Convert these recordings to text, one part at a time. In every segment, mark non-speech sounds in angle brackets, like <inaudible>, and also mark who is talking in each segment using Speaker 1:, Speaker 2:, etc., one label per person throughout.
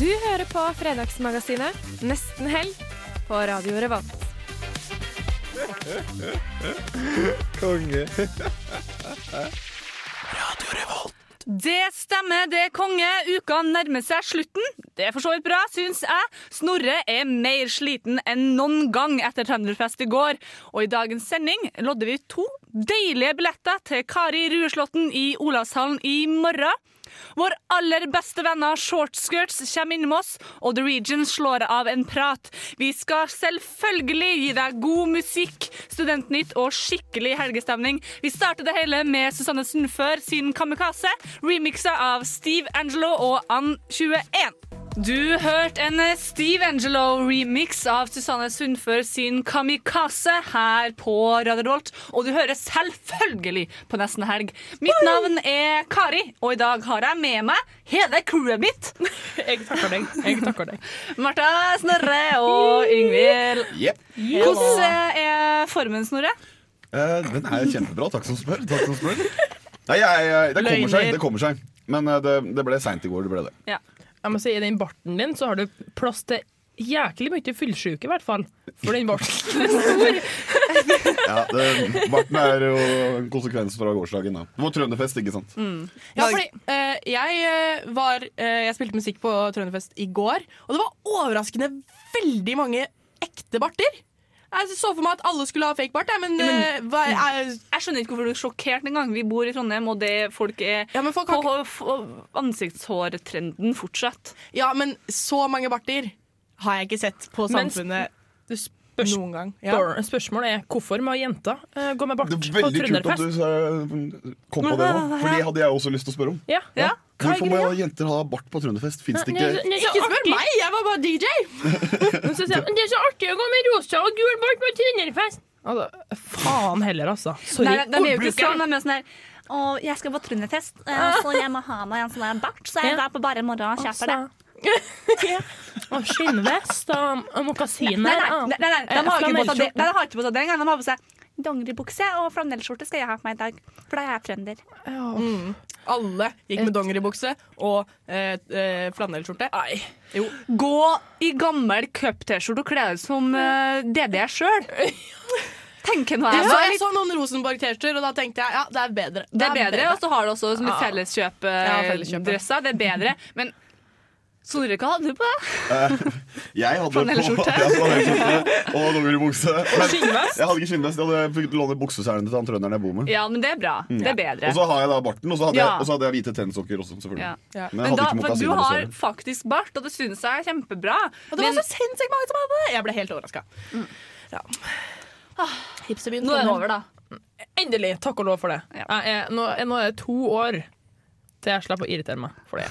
Speaker 1: Du hører på Fredagsmagasinet Nesten helg på Radio Revolt.
Speaker 2: Konge.
Speaker 3: Det stemmer, det er konge. Uka nærmer seg slutten. Det er for så vidt bra, syns jeg. Snorre er mer sliten enn noen gang etter Trønderfest i går. Og i dagens sending lodder vi to deilige billetter til Kari Rueslåtten i Olavshallen i morgen. Vår aller beste venner Shortskirts kommer innom oss, og The Region slår av en prat. Vi skal selvfølgelig gi deg god musikk, studentnytt og skikkelig helgestemning. Vi starter det hele med Susanne Sundfør sin Kamikaze, remixa av Steve Angelo og Ann21. Du hørte en eh, Steve Angelo-remix av Susanne Sundfør sin Kamikaze her på Radio Rolt, og du hører selvfølgelig på Nesten Helg. Mitt navn er Kari, og i dag har jeg med meg hele crewet mitt. Jeg takker deg. Jeg takker deg. Martha, Snorre og Yngvild. Hvordan er formen, Snorre?
Speaker 4: Eh, den er kjempebra. Takk som spør. Takk som spør. Nei, jeg, jeg, det kommer seg. Det kommer seg. Men eh, det, det ble seint i går. Det ble det.
Speaker 3: Ja.
Speaker 5: Jeg må si, I den barten din så har du plass til jæklig mye fyllsjuke, i hvert fall. For den
Speaker 4: <laughs>
Speaker 5: barten er stor.
Speaker 4: Ja, det Barten er jo en konsekvens fra gårsdagen. da. Det var trønderfest, ikke sant?
Speaker 5: Mm.
Speaker 6: Ja, fordi eh, jeg eh, var eh, Jeg spilte musikk på Trønderfest i går, og det var overraskende veldig mange ekte barter. Jeg så for meg at alle skulle ha fake bart, jeg, men, eh, hva, jeg,
Speaker 3: Jeg skjønner ikke hvorfor du er sjokkert engang. Vi bor i Trondheim, og det folk er
Speaker 6: ja, men folk
Speaker 3: på
Speaker 6: har ikke,
Speaker 3: på ansiktshårtrenden fortsatt.
Speaker 6: ja, men så mange barter har jeg ikke sett på
Speaker 5: Men sp-
Speaker 6: samfunnet
Speaker 5: Du spørs
Speaker 6: noen gang. Ja.
Speaker 5: Spør spørsmålet er hvorfor må jenta eh, gå med bart
Speaker 4: Det
Speaker 5: på
Speaker 4: er veldig kult at
Speaker 5: Trønderfest?
Speaker 4: du eh, kom på det nå, for det hadde jeg også lyst til å spørre om.
Speaker 5: Ja.
Speaker 6: Ja.
Speaker 5: Hva er
Speaker 4: Hvorfor må jenter ha bart på trønderfest? Fins det
Speaker 5: Nei,
Speaker 4: ikke
Speaker 5: nei,
Speaker 6: Ikke spør
Speaker 5: artig.
Speaker 6: meg, jeg var bare DJ!
Speaker 5: Men så sier jeg, Det er så artig å gå med rosa og gul bart på Trønderfest! Altså, faen heller, altså. Sorry.
Speaker 3: Nei, de er jo ikke
Speaker 5: Ordbruker.
Speaker 3: sånn. De er jo sånn her og jeg skal på Trønderfest, eh, så jeg må ha meg en sånn her bart. Så jeg er der på bare i morgen og kjøper det.
Speaker 5: <laughs> Og skinnvest og, og mokasiner.
Speaker 3: Nei, nei, nei, nei, nei, de har ikke på seg
Speaker 5: Flanellskjorte.
Speaker 3: det nei, de har ikke på seg det engang. De har på seg dongeribukse og flanellskjorte skal jeg ha på meg i dag, for da er jeg trønder.
Speaker 5: Ja.
Speaker 6: Alle gikk med dongeribukse og eh, eh, flanellskjorte. Jo.
Speaker 3: Gå i gammel cup-T-skjorte og kle deg ut som eh, DD <laughs> sjøl. Tenker nå
Speaker 6: Jeg
Speaker 3: jeg.
Speaker 6: så,
Speaker 3: meg.
Speaker 6: jeg så noen Rosenborg-T-skjorter, og da tenkte jeg ja, det er bedre.
Speaker 3: Det er bedre,
Speaker 7: altså.
Speaker 3: og så har du også sånne
Speaker 6: Ja. felleskjøpet.
Speaker 3: felleskjøpdresser. Det er bedre, men Snorre, hva hadde du på deg?
Speaker 4: <laughs> Jeg hadde på
Speaker 3: Flanellskjorte.
Speaker 4: ja, flanellskjorte og dongeribukse. Men
Speaker 5: Skinnvest.
Speaker 4: Jeg hadde ikke skinnvest. Jeg hadde fått låne bukseselene til han trønderen jeg bor med.
Speaker 3: Ja, men det er bra. Det er bedre.
Speaker 4: Mm. Og så har jeg da barten, og så hadde,
Speaker 3: Ja.
Speaker 4: jeg, og så hadde jeg hvite tennissokker også, selvfølgelig. Men
Speaker 6: Ja.
Speaker 3: Ja.
Speaker 4: jeg
Speaker 3: Men
Speaker 4: hadde
Speaker 3: da,
Speaker 4: ikke
Speaker 3: for du
Speaker 4: mokasiner,
Speaker 3: har
Speaker 4: dessverre.
Speaker 3: faktisk bart, og det synes jeg er kjempebra.
Speaker 6: Og det
Speaker 3: Men
Speaker 6: var så sinnssykt mange som hadde det! Jeg ble helt overraska. Ja. Ah. Hipsterbyen
Speaker 3: nå er det
Speaker 6: Trondheim.
Speaker 3: over, da.
Speaker 5: Endelig! Takk og lov for det.
Speaker 3: Ja.
Speaker 5: Jeg er, nå, nå er det to år til jeg slipper å irritere meg
Speaker 3: <laughs>
Speaker 5: for det.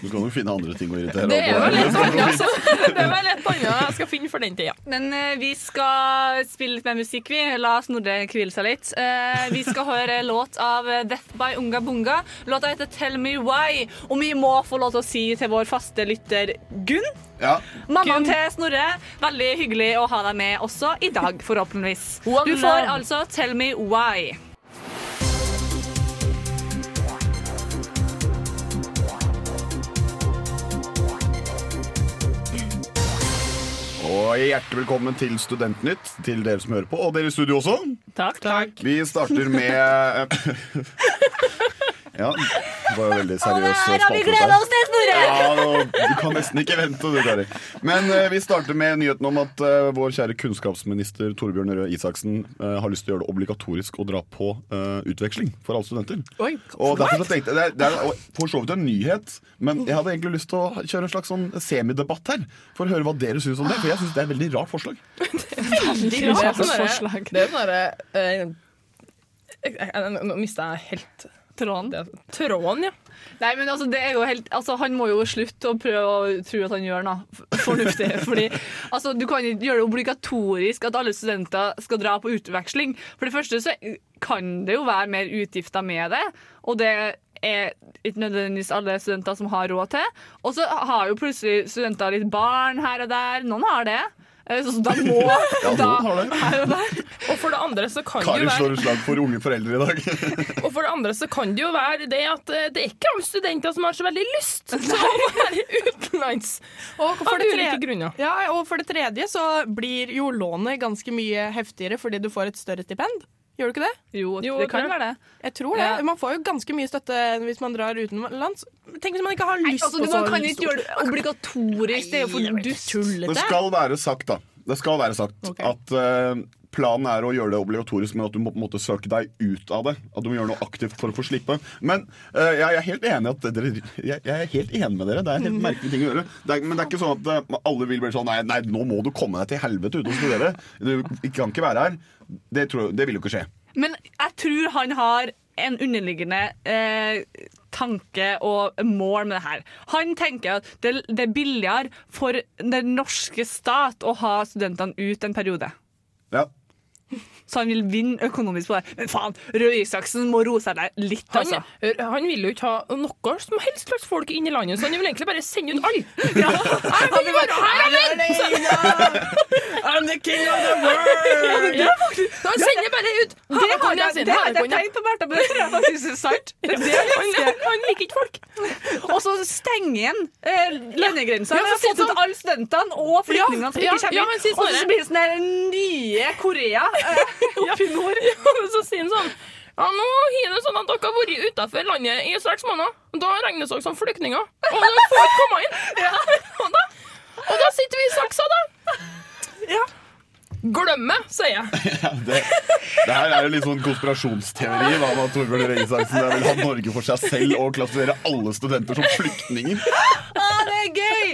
Speaker 4: Du kan jo finne andre ting å irritere
Speaker 5: Det er
Speaker 4: deg på.
Speaker 5: vel litt annet, altså. Det er vel litt annet jeg skal finne for den tida.
Speaker 3: Men eh, vi skal spille litt mer musikk, vi. La Snorre hvile seg litt. Eh, vi skal høre <laughs> låt av eh, Death by Unga Bunga. Låta heter 'Tell Me Why'. Og vi må få lov til å si til vår faste lytter Gunn,
Speaker 4: Ja.
Speaker 3: mammaen til Snorre, veldig hyggelig å ha deg med også i dag, forhåpentligvis. <laughs>
Speaker 5: One
Speaker 3: Du får
Speaker 5: love.
Speaker 3: altså 'Tell Me Why'.
Speaker 4: Og hjertelig velkommen til Studentnytt, til dere som hører på, og dere i studio også.
Speaker 5: Takk. Takk.
Speaker 4: Vi starter med
Speaker 3: <laughs>
Speaker 4: Ja, det var jo veldig seriøs spalte.
Speaker 3: oss til, Snorre!
Speaker 4: Ja, nå- du kan nesten ikke vente, du, Kari. Men eh, vi starter med nyheten om at eh, vår kjære kunnskapsminister Torbjørn Røe Isaksen eh, har lyst til å gjøre det obligatorisk å dra på eh, utveksling for alle studenter.
Speaker 6: Oi.
Speaker 4: Og derfor så tenkte jeg, det er, det er for så vidt en nyhet, men jeg hadde egentlig lyst til å kjøre en slags sånn semidebatt her. For å høre hva dere syns om det. For jeg syns det er et veldig rart forslag.
Speaker 5: Det er sånn derre- det er sånn derre eh, jeg- jeg- Nå mista jeg helt
Speaker 3: Tråden.
Speaker 5: Det er tråden, ja.
Speaker 3: Nei, men altså, det er jo helt, altså, han må jo slutte å prøve å tro at han gjør noe f- fornuftig. <laughs> fordi altså, Du kan ikke gjøre det obligatorisk at alle studenter skal dra på utveksling. For det første så kan det jo være mer utgifter med det, og det er ikke nødvendigvis alle studenter som har råd til. Og så har jo plutselig studenter litt barn her og der. Noen har det. Eh, Så så da
Speaker 4: <laughs>
Speaker 3: må da,
Speaker 4: noen har det.
Speaker 3: her og der.
Speaker 5: Og for det andre så kan det
Speaker 4: Karin
Speaker 5: jo være
Speaker 4: slår et slag for unge foreldre i dag.
Speaker 5: Og for det andre så kan det jo være det at eh, det er ikke alle studenter som har så veldig lyst til å være utenlands.
Speaker 6: Og for
Speaker 5: Av
Speaker 6: det
Speaker 5: ulike
Speaker 6: tredje,
Speaker 5: grunner.
Speaker 6: ja, og for det tredje så blir jo lånet ganske mye heftigere fordi du får et større stipend. Gjør du ikke det?
Speaker 3: Jo,
Speaker 5: Jo,
Speaker 3: det kan
Speaker 5: det-
Speaker 3: være det.
Speaker 6: Jeg tror det.
Speaker 3: Ja.
Speaker 6: Man får jo ganske mye støtte hvis man drar utenlands. Tenk hvis man ikke har
Speaker 3: Nei,
Speaker 6: lyst
Speaker 3: altså, du
Speaker 6: på så
Speaker 3: man kan ikke
Speaker 6: stort.
Speaker 3: gjøre det obligatorisk. Det er jo for dust.
Speaker 4: Det skal være sagt, da. Det skal være sagt
Speaker 6: Ok.
Speaker 4: at eh, planen er å gjøre det obligatorisk, men at du må på en måte søke deg ut av det. At du må gjøre noe aktivt for å få slippe. Men eh, jeg er helt enig at dere, jeg, jeg er helt enig med dere. Det er en helt merkelig ting å gjøre. Det er, men det er ikke sånn at eh, alle vil bli sånn nei, nei, nå må du komme deg til helvete ut og studere. Du kan ikke være her. Det, tror, jeg- det vil jo ikke skje.
Speaker 3: Men jeg tror han har en underliggende eh, tanke og mål med det her. Han tenker at det, det er billigere for den norske stat å ha studentene ut en periode.
Speaker 4: Ja.
Speaker 3: Så han vil vinne økonomisk på det. Men faen, Røe Isaksen må roe seg der litt,
Speaker 5: Han,
Speaker 3: altså.
Speaker 5: hør, han vil jo ikke ha noe som helst slags folk inn i landet, så han vil egentlig bare sende ut alle.
Speaker 3: <laughs>
Speaker 5: Ja. Jeg vil være her, jeg vil!
Speaker 6: I'm the king of the world!
Speaker 5: Ja, faktisk. Så han sender bare ut
Speaker 3: Det har
Speaker 5: Hanekonja
Speaker 3: jeg,
Speaker 5: sin,
Speaker 3: det har jeg
Speaker 5: Hanekonja.
Speaker 3: tenkt på, Bertha, men det tror jeg faktisk er sant. Det er det jeg
Speaker 5: Han,
Speaker 3: liker.
Speaker 5: han liker ikke folk. <laughs>
Speaker 3: Og så stenge igjen eh, landegrensa.
Speaker 5: Ja,
Speaker 3: Ja,
Speaker 5: for
Speaker 3: sånn
Speaker 5: sånn-
Speaker 3: at alle studentene og flyktningene som
Speaker 5: Ja,
Speaker 3: ikke
Speaker 5: ja,
Speaker 3: kommer
Speaker 5: men
Speaker 3: hit.
Speaker 5: si
Speaker 3: Og
Speaker 5: Snorre.
Speaker 3: så blir det sånn her nye Korea. Eh,
Speaker 5: Oppi nord. <laughs> Ja, men så sier han sånn Ja, nå er det sånn at dere har vært utenfor landet i seks måneder. Da regnes dere som flyktninger. Og dere får ikke komme
Speaker 3: <laughs>
Speaker 5: inn. <laughs> Og, da, og da sitter vi i saksa, da.
Speaker 6: Ja.
Speaker 5: Glem det, sier jeg.
Speaker 4: Det, det her er jo litt sånn konspirasjonsteori da, med at Torbjørn Røe Isaksen der vil ha Norge for seg selv og klassifisere alle studenter som flyktninger.
Speaker 3: ah, det er gøy!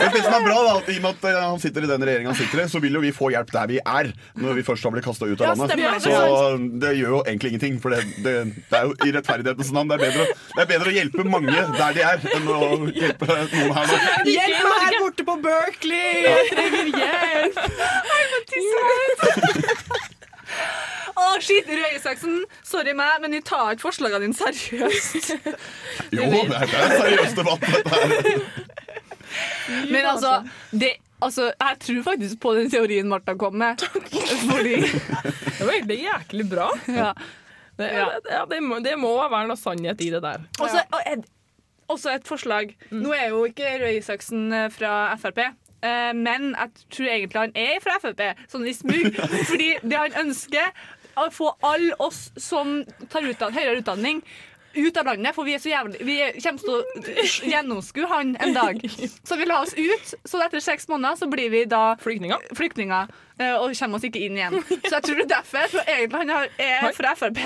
Speaker 4: Men det som er bra da, at I og med at eh, han sitter i den regjeringen han sitter i, så vil jo vi få hjelp der vi er. Når vi først har blitt kasta ut av
Speaker 6: Ja,
Speaker 4: landet.
Speaker 6: stemmer det.
Speaker 4: så eh, det gjør jo egentlig ingenting. For det, det, det er jo i rettferdighetens navn. Det er, bedre, det er bedre å hjelpe mange der de er, enn å hjelpe noen her nå.
Speaker 6: Hjelp meg her borte på Berkeley! Jeg trenger hjelp!
Speaker 3: Å, shit, Røe Isaksen. Sorry meg, men vi tar ikke forslagene dine seriøst.
Speaker 4: Jo, det er det er en seriøs debatt. dette her.
Speaker 3: Men altså, det, altså, jeg tror faktisk på den teorien Martha kom med. Fordi
Speaker 5: <laughs> Det var egentlig jæklig bra.
Speaker 3: ja.
Speaker 5: Det,
Speaker 3: Ja.
Speaker 5: det, ja, det, må, det må være noe sannhet i det der.
Speaker 3: Også, og et, også et forslag. Nå er jo ikke Røe Isaksen eh, fra Frp. eh, Men jeg tror egentlig han er fra Frp, sånn i smug. Fordi det han ønsker, å få alle oss som tar utdan høyere utdanning, ut av landet. For vi er så jævlig Vi er- kommer til å gjennomskue han en dag. Så vi la oss ut. Så etter seks måneder så blir vi da
Speaker 5: Flyktninger.
Speaker 3: flyktninger eh, og kommer oss ikke inn igjen. Så jeg tror det er derfor. Jeg tror egentlig han har- er fra Frp,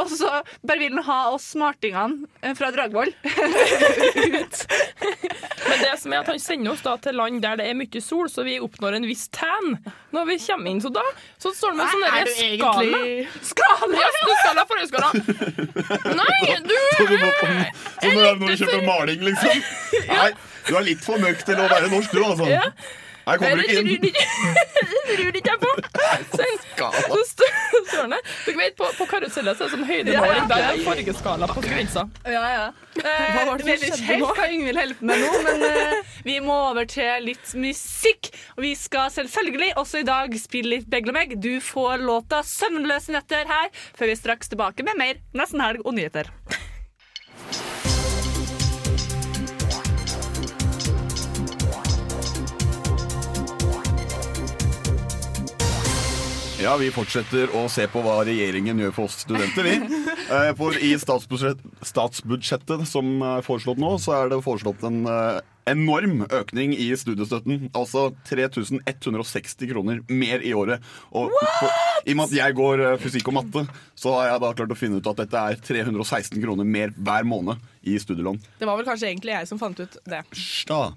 Speaker 3: og så bare vil han ha oss smartingene eh, fra Dragvoll.
Speaker 5: Men det som er at han sender oss da til land der det er mye sol, så vi oppnår en viss tan når vi kommer inn. Så da så står det med sånn derre skala.
Speaker 3: Skala!
Speaker 5: Ja, du skala, forrige skala. Nei, du
Speaker 4: Så du må komme- så når, når du kjøper maling, liksom. Nei, du er litt for møkk til å være norsk, du, altså.
Speaker 5: Ja.
Speaker 4: Her kommer du ikke
Speaker 5: Nei,
Speaker 4: inn.
Speaker 5: det Rur ikke jeg på. Sen,
Speaker 8: Eh,
Speaker 5: så står står han der. Dere vet, på, på karuseller så er det sånn høydemåling. Der er fargeskala på grensa.
Speaker 3: Ja, ja. Eh,
Speaker 5: Hva var det som
Speaker 3: jeg
Speaker 5: skjedde
Speaker 3: vet ikke helt hva Yngvild holder på med nå, men eh, vi må over til litt musikk. Og vi skal selvfølgelig også i dag spille litt Beglemegg. Du får låta 'Søvnløse netter' her, før vi er straks tilbake med mer Nesten helg og nyheter.
Speaker 4: Ja, vi fortsetter å se på hva regjeringen gjør for oss studenter, vi. Eh, For i statsbudsjett, statsbudsjettet som er foreslått nå, så er det foreslått en eh, enorm økning i studiestøtten. Altså 3160 kroner mer i året. Og for, i og med at jeg går eh, fysikk og matte, så har jeg da klart å finne ut at dette er 316 kroner mer hver måned i studielån.
Speaker 6: Det var vel kanskje egentlig jeg som fant ut det.
Speaker 4: Hysj, da.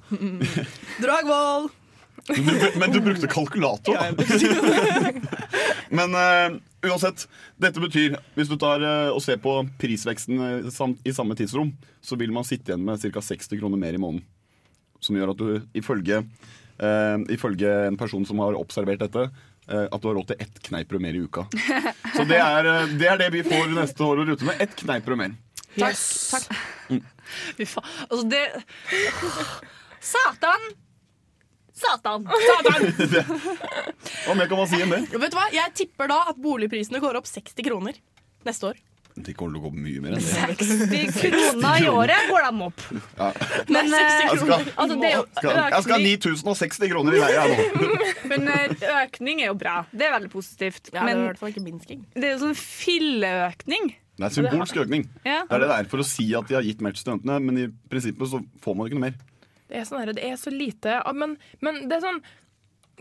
Speaker 6: Dragvoll!
Speaker 4: <laughs> Men du, men du brukte kalkulator, da. Men eh, uansett, dette betyr Hvis du tar eh, og ser på prisveksten eh, sam- i samme tidsrom, så vil man sitte igjen med ca. 60 kroner mer i måneden. Som gjør at du ifølge, eh, ifølge en person som har observert dette, eh, at du har råd til ett kneippbrød mer i uka. Så det er, eh, det er det vi får neste år å rute med. Ett kneippbrød mer. <laughs>
Speaker 6: Takk. takk.
Speaker 3: Fy faen. Altså, det Satan! Satan!
Speaker 4: Hva mer kan man si enn det?
Speaker 6: Vet du hva? Jeg tipper da at boligprisene går opp 60 kroner neste år.
Speaker 4: Det kommer til å gå mye mer enn det.
Speaker 3: 60 kroner i året går de opp. Men,
Speaker 6: Nei, 60
Speaker 3: eh,
Speaker 4: Jeg skal,
Speaker 3: Altså, det er jo
Speaker 4: skal, jeg skal ha
Speaker 3: økning,
Speaker 4: 9060 kroner i leie her nå.
Speaker 3: men eh, økning er jo bra. Det er veldig positivt.
Speaker 6: Ja, det
Speaker 3: Men
Speaker 6: var i hvert fall ikke minsking.
Speaker 3: det er jo sånn filleøkning.
Speaker 4: Det er symbolsk økning.
Speaker 3: Ja.
Speaker 4: Det er det der for å si at de har gitt mer til studentene, men i prinsippet så får man ikke noe mer.
Speaker 5: Det er, sånn her, det er så lite ah, Men, men det er sånn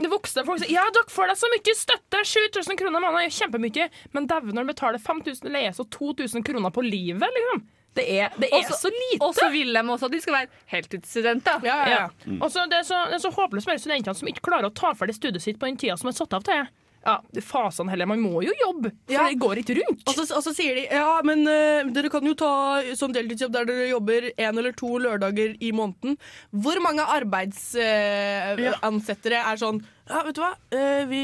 Speaker 5: det voksne folk sier ja, dere får da så mye støtte! 7000 kroner i måneden er jo kjempemye. Men dæven, når du betaler 5000 i leie, så 2000 kroner på livet, liksom. Det er, det er
Speaker 3: Også-
Speaker 5: så lite.
Speaker 3: Og så vil de også at de skal være heltidsstudenter.
Speaker 6: Ja, ja,
Speaker 5: Ja.
Speaker 4: Mm.
Speaker 5: Og så det, er så, det er så håpløst med de studentene som ikke klarer å ta ferdig studiet sitt på den tida som er satt av til det. Ja, fasene heller. Man må jo jobbe, for
Speaker 6: Ja.
Speaker 5: det går ikke rundt.
Speaker 6: Og så, og så sier de ja, men eh, dere kan jo ta sånn deltidsjobb der dere jobber én eller to lørdager i måneden. Hvor mange
Speaker 5: Ja.
Speaker 6: arbeidsansettere er sånn ja, vet du hva, Eh, vi,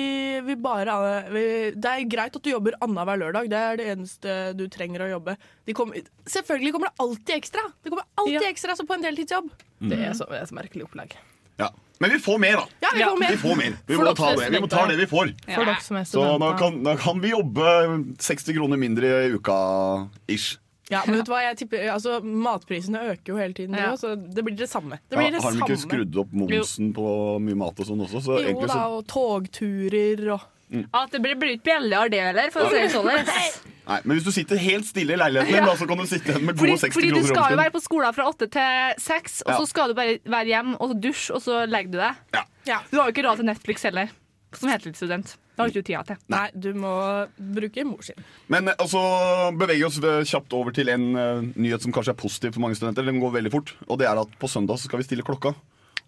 Speaker 6: vi bare eh, vi, Det er greit at du jobber annenhver lørdag. Det er det eneste du trenger å jobbe. De kom, selvfølgelig kommer det alltid ekstra. Det kommer alltid
Speaker 5: Ja.
Speaker 6: ekstra så på en deltidsjobb.
Speaker 3: Mm.
Speaker 5: Det er så, det er så merkelig opplegg.
Speaker 4: Ja. Men vi får mer, da.
Speaker 6: Ja, vi
Speaker 5: Ja.
Speaker 6: får
Speaker 4: Vi
Speaker 6: mer.
Speaker 4: får mer. Vi
Speaker 5: For
Speaker 4: må
Speaker 5: dere
Speaker 4: ta det, vi, må ta
Speaker 5: studenter.
Speaker 4: det vi får.
Speaker 5: For dere som er
Speaker 4: Så da
Speaker 5: studenter.
Speaker 4: kan, da kan vi jobbe 60 kroner mindre i uka ish.
Speaker 6: Ja, men vet du hva, jeg tipper, altså, matprisene øker jo hele tiden,
Speaker 3: Ja.
Speaker 6: ja. så det blir det samme. Det
Speaker 4: Ja,
Speaker 6: blir det
Speaker 4: har de ikke
Speaker 6: samme.
Speaker 4: skrudd opp momsen på mye mat og sånn også? Så
Speaker 6: Jo
Speaker 4: egentlig
Speaker 6: da,
Speaker 4: så
Speaker 6: og togturer og
Speaker 3: At det blir blir ikke billigere det heller, for å si det sånn.
Speaker 4: Nei, Men hvis du sitter helt stille i leiligheten din, da, så kan du sitte igjen med
Speaker 3: Fordi,
Speaker 4: gode 60
Speaker 3: fordi du
Speaker 4: kroner. i
Speaker 3: skal jo
Speaker 4: overskudd.
Speaker 3: være på skolen fra åtte til seks, og
Speaker 4: Ja.
Speaker 3: så skal du bare være hjem og dusje, og så legger du deg.
Speaker 4: Ja.
Speaker 6: Ja.
Speaker 3: Du har jo ikke råd til Netflix heller, som heltidsstudent. Det har du ikke tida til.
Speaker 6: Nei, du må bruke mor sin.
Speaker 4: Men eh, altså, beveger vi oss eh, kjapt over til en eh, nyhet som kanskje er positiv for mange studenter. Den går veldig fort, og det er at på søndag så skal vi stille klokka.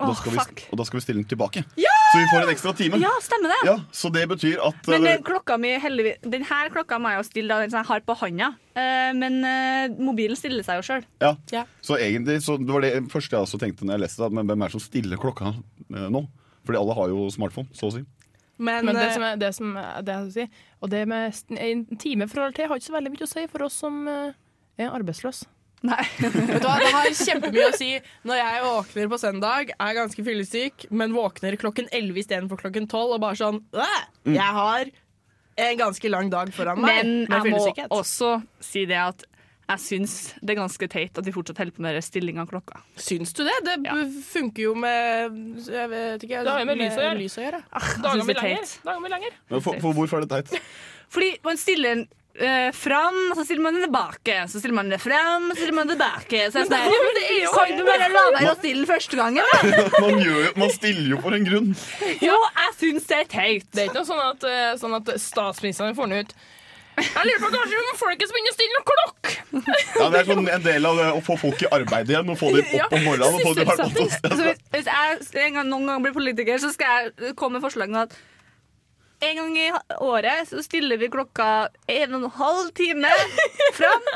Speaker 4: Og, da,
Speaker 3: Åh,
Speaker 4: skal vi,
Speaker 3: fuck.
Speaker 4: og da skal vi stille den tilbake. Så vi får en ekstra time.
Speaker 3: Ja, stemmer det.
Speaker 4: Ja, så det betyr at
Speaker 3: Men
Speaker 4: eh,
Speaker 3: den klokka mi heldigvis Den her klokka må jeg jo stille, da, den som jeg har på handa. Eh, men eh, mobilen stiller seg jo sjøl.
Speaker 4: ja.
Speaker 6: Ja.
Speaker 4: Så egentlig, så det var det første jeg også tenkte når jeg leste det, at, men hvem er det som stiller klokka eh, nå? Fordi alle har jo smartphone, så å si.
Speaker 6: Men,
Speaker 5: Men det
Speaker 6: eh,
Speaker 5: som er det, som er, det jeg skulle si, og det med st- en time forhold til har ikke så veldig mye å si for oss som eh, er arbeidsløse.
Speaker 3: Nei.
Speaker 6: vet du hva, det har kjempemye å si når jeg våkner på søndag, er ganske fyllesyk, men våkner klokken 11 istedenfor klokken 12 og bare sånn «Åh,
Speaker 4: Mm.
Speaker 6: Jeg har en ganske lang dag foran meg.
Speaker 3: Men
Speaker 6: med
Speaker 3: jeg må
Speaker 6: fyllesykhet».
Speaker 3: også si det at jeg syns det er ganske teit at vi fortsatt holder på med den stillinga av klokka.
Speaker 6: Syns du det? Det
Speaker 3: Ja.
Speaker 6: b- funker jo med Jeg vet ikke.
Speaker 5: Det har jo med lys å gjøre.
Speaker 6: lys å gjøre.
Speaker 5: Dagene
Speaker 3: synes det
Speaker 5: blir
Speaker 3: er
Speaker 5: lengre.
Speaker 3: teit.
Speaker 5: Dagene blir lengre.
Speaker 4: Men for, for hvorfor er det
Speaker 3: <laughs>
Speaker 4: teit?
Speaker 3: Fordi man stiller den eh, fram, så stiller man den tilbake, så stiller man den fram, så stiller man den tilbake. Så jeg er sånn, her, kan du bare la være å stille den første gangen? da?
Speaker 4: Man, gjør, jo- man stiller jo for en grunn.
Speaker 3: Jo, jeg syns det er teit.
Speaker 5: Det er ikke noe sånn at, eh, sånn at statsministeren får den ut. Jeg lurer på kanskje om folket skal begynne å stille noen klokk! <laughs>
Speaker 4: Ja, det er sånn en del av det å få folk i arbeid igjen, og få dem opp om morgenen. Og få dem opp om
Speaker 3: Altså, hvis, hvis jeg en gang, noen gang blir politiker, så skal jeg komme med forslag om at en gang i året så stiller vi klokka en og en halv time fram.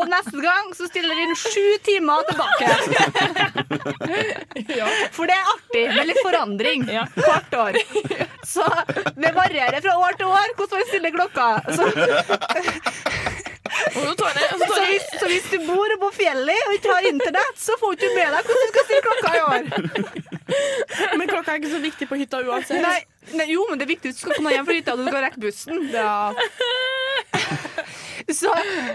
Speaker 3: Og neste gang så stiller vi inn sju timer tilbake. For det er artig med litt forandring hvert år. Så det varierer fra år til år hvordan man stiller klokka. Så,
Speaker 5: Og så tar jeg, og så
Speaker 3: så,
Speaker 5: tar jeg,
Speaker 3: hvis, så hvis du bor på fjellet og ikke har internett, så får du ikke med deg hvordan du skal stille klokka i år.
Speaker 6: Men klokka er ikke så viktig på hytta uansett.
Speaker 3: Nei, nei, jo, men det er viktig at du skal komme hjem fra hytta og du skal rekke bussen. <laughs> Så,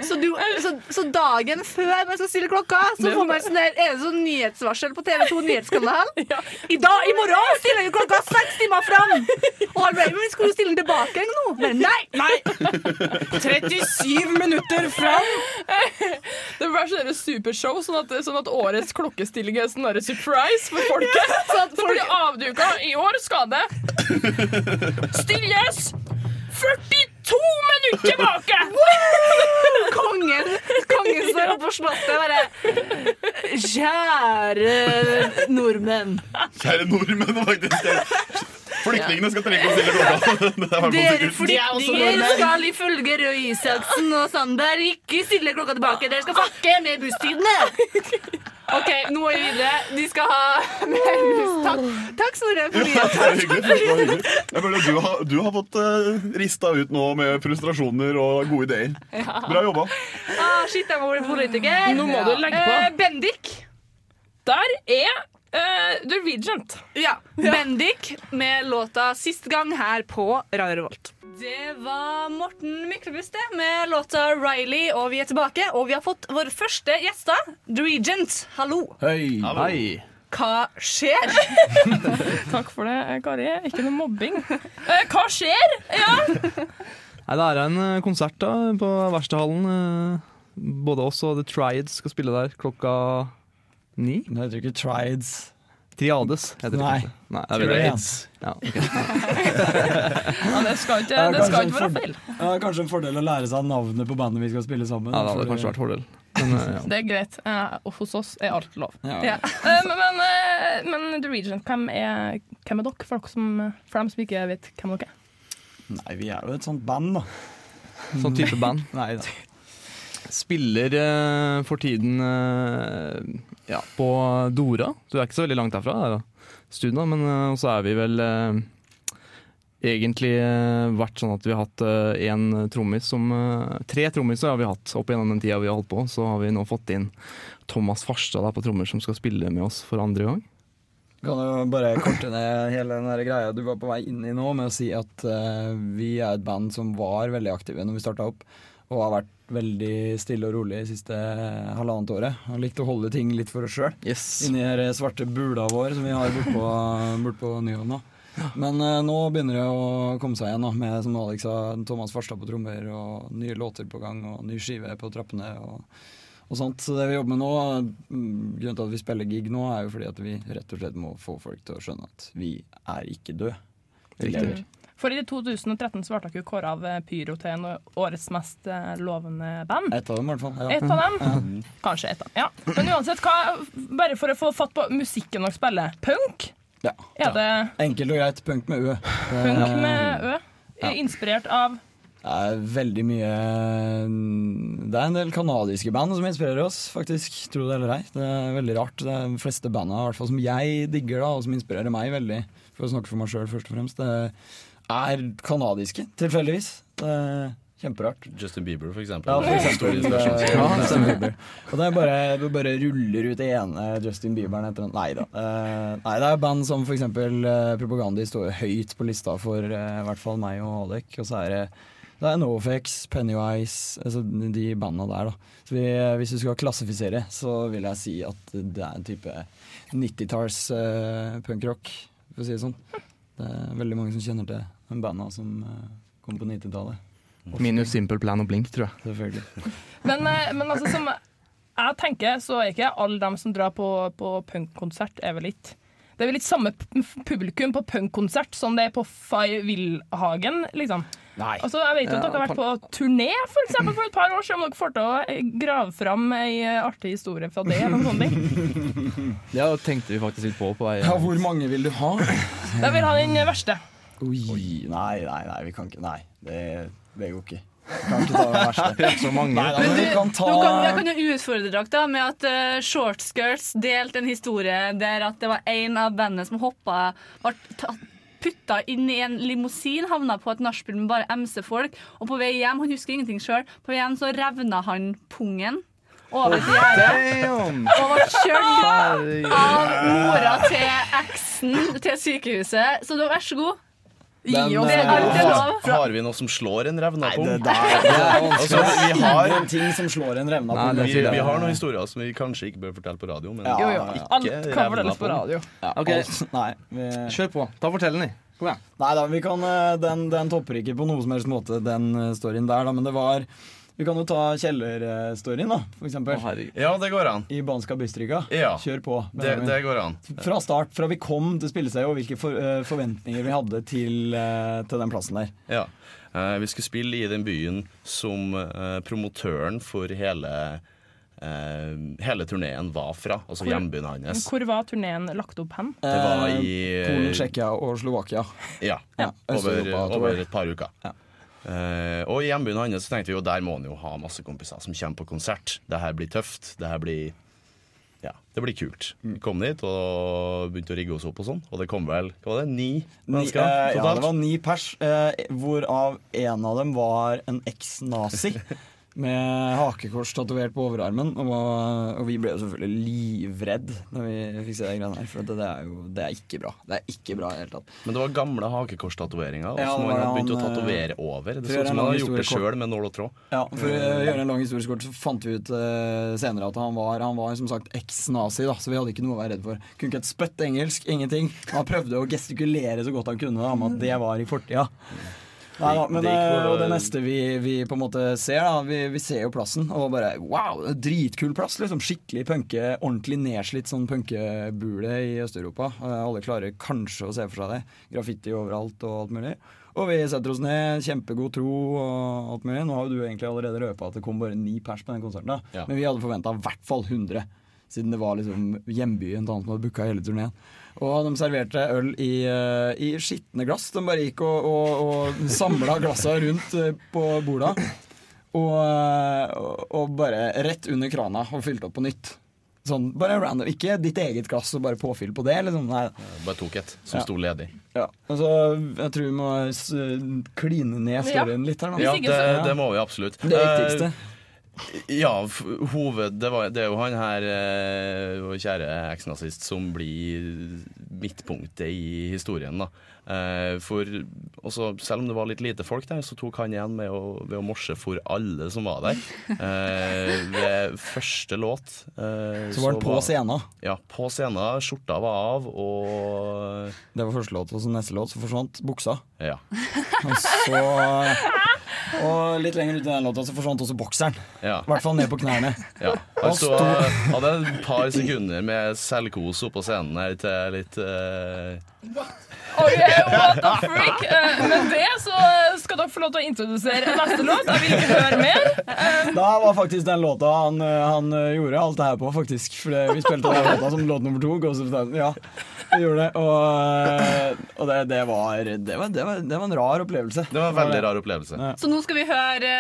Speaker 3: så, du, så, så dagen før man skal stille klokka, så får man sånn der, er det sånn nyhetsvarsel på TV 2 <laughs> Nyhetskanal. I dag, i morgen stiller vi klokka seks timer fram! Og han bare, men skulle du stille den tilbake en gang nå? Men nei!
Speaker 6: Nei! 37 minutter fram!
Speaker 5: <laughs> det blir sånn et supershow, sånn at, sånn at årets klokkestilling er sånn der surprise for folket.
Speaker 3: Så at
Speaker 5: Så blir det avduka. I år skal det stilles 42 minutter tilbake!
Speaker 3: kongen, kongen står oppe på slottet og bare Kjære nordmenn.
Speaker 4: Kjære nordmenn, faktisk. Flyktningene skal trenge å stille klokka. <laughs> Det er bare å
Speaker 3: Dere
Speaker 4: konsekvens.
Speaker 3: flyktninger skal ifølge Røe Isaksen og Sander ikke stille klokka tilbake. Dere skal fakke med busstidene. OK, nå må vi videre. De skal ha mer buss. Takk, Takk Snorre. for
Speaker 4: Ja,
Speaker 3: mye.
Speaker 4: det var hyggelig. Det var hyggelig. Jeg føler du, har, du har fått eh, rista ut nå med frustrasjoner og gode ideer. Bra jobba.
Speaker 3: Ah, shit, jeg må bli politiker.
Speaker 5: Nå må du legge på.
Speaker 3: Eh, Bendik.
Speaker 5: Der er eh, Norwegian.
Speaker 3: Ja. <laughs> Bendik med låta 'Sist gang' her på Radio Revolt. Det var Morten Myklebust det, med låta 'Riley', og vi er tilbake. Og vi har fått våre første gjester. The Regent, hallo.
Speaker 9: Hei.
Speaker 3: Hva skjer?
Speaker 5: Takk for det, Kari. Ikke noe mobbing. Eh, hva skjer?
Speaker 9: Nei, det er en eh, konsert da på Verkstedhallen. eh, Både oss og The Triads skal spille der klokka ni.
Speaker 10: Det heter ikke Triads.
Speaker 9: Triades heter det
Speaker 10: Nei.
Speaker 9: kanskje. Nei, det er vel det. Ja, ok.
Speaker 5: Ja, det skal ikke,
Speaker 10: Ja,
Speaker 5: det skal
Speaker 10: kanskje
Speaker 5: ikke være
Speaker 10: en
Speaker 5: feil.
Speaker 10: Det er kanskje en fordel å lære seg navnet på bandet vi skal spille sammen.
Speaker 9: ja, det hadde
Speaker 10: fordi-
Speaker 9: kanskje vært fordel. Men, eh, ja.
Speaker 5: Det er greit. Eh, og hos oss er alt lov.
Speaker 10: Ja.
Speaker 5: Ja. Eh, men, men, eh, men The Regent, hvem er, hvem er dere? For, dere som, for dem som ikke vet hvem dere er.
Speaker 10: Nei, vi er jo et sånt band, da.
Speaker 9: Sånn type band.
Speaker 10: Nei da.
Speaker 9: Spiller eh, for tiden eh, ja, på Dora. Du er ikke så veldig langt derfra, det er da. Studien, da, men eh, og så er vi vel eh, egentlig eh, vært sånn at vi har hatt én trommis som eh, Tre trommiser har vi hatt opp gjennom den tida vi har holdt på. Så har vi nå fått inn Thomas Farstad da, på trommer, som skal spille med oss for andre gang.
Speaker 10: Kan du bare korte ned hele den der greia du var på vei inn i nå, med å si at eh, vi er et band som var veldig aktive når vi starta opp, og har vært veldig stille og rolig de siste eh, halvannet året. Har likt å holde ting litt for oss sjøl.
Speaker 9: Yes.
Speaker 10: Inni den svarte bula vår som vi har bortpå bort på Nyhavn. da. Men eh, nå begynner det å komme seg igjen, da, med som Alex sa, Thomas Farstad på trommer og nye låter på gang og ny skive på trappene. og og sånt. Så det vi jobber med nå, mm, grunnen til at vi spiller gig nå, er jo fordi at vi rett og slett må få folk til å skjønne at vi er ikke døde. Vi
Speaker 9: Riktig.
Speaker 10: lever.
Speaker 5: For i 2013 så ble dere jo kåra av eh, Pyro til en årets mest eh, lovende band.
Speaker 10: Et av dem, i hvert fall. Ja.
Speaker 5: Et av dem. Kanskje et av dem. Ja. Men uansett, hva, bare for å få fatt på musikken dere spiller. Punk?
Speaker 10: Ja.
Speaker 5: Er det
Speaker 10: Enkelt og greit. Punk med ø.
Speaker 5: punk
Speaker 10: Eh,
Speaker 5: med Ø? Inspirert av
Speaker 10: Det er veldig mye mm, Det er en del kanadiske band som inspirerer oss, faktisk. Tro det eller ei. Det er veldig rart. Det er de fleste bandene i hvert fall, som jeg digger, da, og som inspirerer meg veldig, for å snakke for meg sjøl først og fremst, det er kanadiske, tilfeldigvis. Det er kjemperart.
Speaker 8: Justin Bieber, for eksempel.
Speaker 10: Ja, for eksempel.
Speaker 8: Stor inspirasjon.
Speaker 10: Ja, Justin Bieber. Og det er bare, det bare ruller ut det ene Justin Bieberen etter den. Nei da. Eh, nei, det er band som f.eks. Uh, Propagandi står jo høyt på lista for eh, i hvert fall meg og Alek. Og så er det, det er NoFX, Pennywise, altså de bandene der, da. Så vi, eh, hvis du skal klassifisere, så vil jeg si at det er en type 90-talls eh, punkrock, for å si det sånn. Det er veldig mange som kjenner til de banda som eh, kom på 90-tallet.
Speaker 9: Minus Simple Plan og Blink, tror jeg.
Speaker 10: Selvfølgelig.
Speaker 5: Men, eh, men altså, som jeg tenker, så er ikke alle dem som drar på, på punkkonsert, er vel litt Det er vel litt samme p- publikum på punkkonsert som det er på Fay Wilhagen, liksom.
Speaker 10: Nei.
Speaker 5: Altså, jeg vet jo at dere har vært på turné for, eksempel, for et par år siden, om dere får til å eh, grave fram ei eh, artig historie fra det. Eller noe sånt.
Speaker 9: Det tenkte vi faktisk litt på på <laughs> vei.
Speaker 10: Ja, hvor mange vil du ha?
Speaker 5: Jeg vil ha den verste.
Speaker 10: Oi, nei, nei, nei, vi kan ikke Nei, det, det går ikke. Vi kan ikke ta det verste.
Speaker 9: Så mange.
Speaker 10: Nei, da, men vi kan ta
Speaker 3: Nå kan, jeg kan jo utfordre dere da med at eh, Shortskirts delte en historie der at det var en av bandet som hoppa ble tatt- putta inn i en limousin, havna på et nachspiel med bare MC-folk, og på vei hjem Han husker ingenting sjøl. På vei hjem så revna han pungen over til gjerdet
Speaker 9: Damn!
Speaker 3: og ble kjørt
Speaker 9: Herregud.
Speaker 3: av mora til eksen til sykehuset. Så da, vær så god. Gi
Speaker 10: Den,
Speaker 3: oss
Speaker 10: eh,
Speaker 3: alt er lov.
Speaker 8: Har vi noe som slår en revna pung?
Speaker 10: Det der det er
Speaker 8: Altså,
Speaker 10: vanskelig.
Speaker 8: vi har
Speaker 10: en ting som slår en revna
Speaker 9: Nei,
Speaker 10: på.
Speaker 8: vi, vi har noen historier som vi kanskje ikke bør fortelle på radio, men
Speaker 10: Ja,
Speaker 8: ikke
Speaker 10: ja, ja.
Speaker 5: Alt kan fortelles på
Speaker 8: pung.
Speaker 5: radio.
Speaker 10: Ja,
Speaker 9: Ok.
Speaker 10: alt- Nei, vi,
Speaker 9: Kjør på. Ta fortellingen, i. Kom igjen.
Speaker 10: nei da, vi kan, eh, den, den topper ikke på noen som helst måte, den eh, storyen der, da, men det var Vi kan jo ta kjellerstoryen, da,
Speaker 9: Å,
Speaker 10: for eksempel.
Speaker 9: herregud.
Speaker 8: Ja, det går an.
Speaker 10: I Banska Bystrika.
Speaker 8: Ja.
Speaker 10: Kjør på.
Speaker 8: Det,
Speaker 10: Benjamin.
Speaker 8: det går an.
Speaker 10: Fra start, fra vi kom til spillestedet, og hvilke for, eh, forventninger vi hadde til, eh, til den plassen der.
Speaker 8: Ja. Eh, vi skulle spille i den byen som eh, promotøren for hele eh, hele turneen var fra. Altså
Speaker 5: Hvor-
Speaker 8: hjembyen hans.
Speaker 5: Hvor var turneen lagt opp hen?
Speaker 8: Det var i
Speaker 10: Eh,
Speaker 8: eh,
Speaker 10: Polen, Tsjekkia og Slovakia.
Speaker 8: Ja,
Speaker 10: Ja,
Speaker 8: over,
Speaker 10: Østeuropa, tror jeg.
Speaker 8: over et par uker. Eh, og i hjembyen hans så tenkte vi jo der må han jo ha masse kompiser som kommer på konsert. Det her blir tøft. Det her blir ja, det blir kult.
Speaker 10: Mm.
Speaker 8: Vi kom dit og begynte å rigge oss opp og sånn. Og det kom vel hva var det, ni
Speaker 10: Ni,
Speaker 8: mennesker
Speaker 10: eh, ja, det
Speaker 8: totalt?
Speaker 10: var ni pers, eh, hvorav en av dem var en eks-nazi.
Speaker 8: <laughs>
Speaker 10: Med hakekors tatovert på overarmen. Og, og vi ble jo selvfølgelig livredd når vi fikk se de greiene her. For det, det er jo det er ikke bra. Det er ikke bra i det hele tatt.
Speaker 8: Men det var gamle hakekorstatoveringer og
Speaker 10: Ja,
Speaker 8: som han
Speaker 10: det var
Speaker 8: hadde begynt å
Speaker 10: han, eh,
Speaker 8: tatovere over. Det
Speaker 10: for
Speaker 8: så ut
Speaker 10: å gjøre en
Speaker 8: som han
Speaker 10: lang
Speaker 8: hadde gjort det
Speaker 10: historie kort.
Speaker 8: sjøl med nål og tråd. Eh,
Speaker 10: Ja, For å gjøre en lang historie kort, så fant vi ut eh, senere at han var, han var som sagt eks-nazi, da, så vi hadde ikke noe å være redd for. Kunne ikke et spøtt engelsk, ingenting. Han prøvde å gestikulere så godt han kunne da, om at det var i fortida. Nei da, men
Speaker 8: Det gikk for-
Speaker 10: eh, og det neste vi, vi på en måte ser, da, vi, vi ser jo plassen og bare wow, det er dritkul plass. liksom Skikkelig punke, ordentlig nedslitt sånn punkebule i Øst-Europa. Eh, Alle klarer kanskje å se for seg det. Graffiti overalt og alt mulig. Og vi setter oss ned, kjempegod tro og alt mulig. Nå har jo du egentlig allerede røpa at det kom bare ni pers på den konserten, da.
Speaker 8: Ja.
Speaker 10: men vi hadde forventa i hvert fall 100. Siden det var liksom hjembyen til han som hadde booka hele turneen. Og de serverte øl i, eh, i skitne glass. De bare gikk og, og, og samla glassa rundt eh, på borda. Og, eh, og- og bare rett under krana og fylte opp på nytt. Sånn, bare random. Ikke ditt eget glass og bare påfyll på det. Liksom. Nei.
Speaker 8: Bare tok et som
Speaker 10: Ja.
Speaker 8: sto ledig.
Speaker 10: Ja, altså, jeg tror vi må s kline ned storyen litt her nå.
Speaker 8: Ja, det, det må vi absolutt.
Speaker 10: Det viktigste.
Speaker 8: Eh, ja, f- hoved det, var, det er jo han her, eh, vår kjære eksnazist, som blir midtpunktet i historien, da. Eh, for også, selv om det var litt lite folk der, så tok han igjen med å, ved å morse for alle som var der. Eh, ved første låt eh,
Speaker 10: Så var han på scenen.
Speaker 8: Ja, på scenen. Skjorta var av, og
Speaker 10: Det var første låt, og så neste låt så forsvant buksa.
Speaker 8: Ja.
Speaker 10: <laughs> Og så Og litt lenger ut i den låta så forsvant også bokseren.
Speaker 8: Ja.
Speaker 10: I hvert fall ned på knærne.
Speaker 8: Ja. Altså-
Speaker 10: Han
Speaker 8: Han sto,
Speaker 10: sto-
Speaker 8: hadde et par sekunder med selvkos oppå scenen her til litt eh,
Speaker 5: Ok, what the freak? Eh, Med det så eh, skal dere få lov til å introdusere neste låt. Jeg vil ikke høre mer.
Speaker 10: Da var faktisk den låta han, eh, han eh, gjorde alt det her på, faktisk. For det- vi spilte den låta som låt nummer to. Ghost of Town. Ja, vi gjorde det. Og, eh, og det, det, var, det, var, det, var, det var en rar opplevelse.
Speaker 8: Det var en veldig rar opplevelse.
Speaker 10: Ja.
Speaker 3: Så nå skal vi høre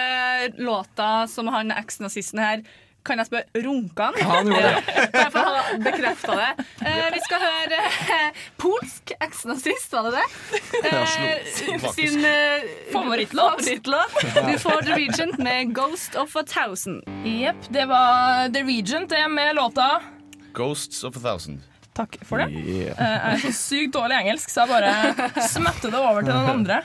Speaker 3: eh, låta som han eks-nazisten her Kan jeg spørre runka han? <laughs>
Speaker 10: Han gjorde det.
Speaker 3: Bare for å ha bekrefta det. Eh, vi skal høre eh, polsk eks-nazist, var det det?
Speaker 5: Ja,
Speaker 3: Eh,
Speaker 5: slo- faktisk.
Speaker 3: sin eh,
Speaker 5: Favorittlåt.
Speaker 3: favorittlåt. Du får The Regent med 'Ghost of a Thousand'.
Speaker 5: Jepp, det var The Regent det med låta.
Speaker 8: Ghosts of a Thousand.
Speaker 5: Takk for det. Eh,
Speaker 8: Yeah.
Speaker 5: Jeg er så sykt dårlig i engelsk, så jeg bare smetter det over til den andre.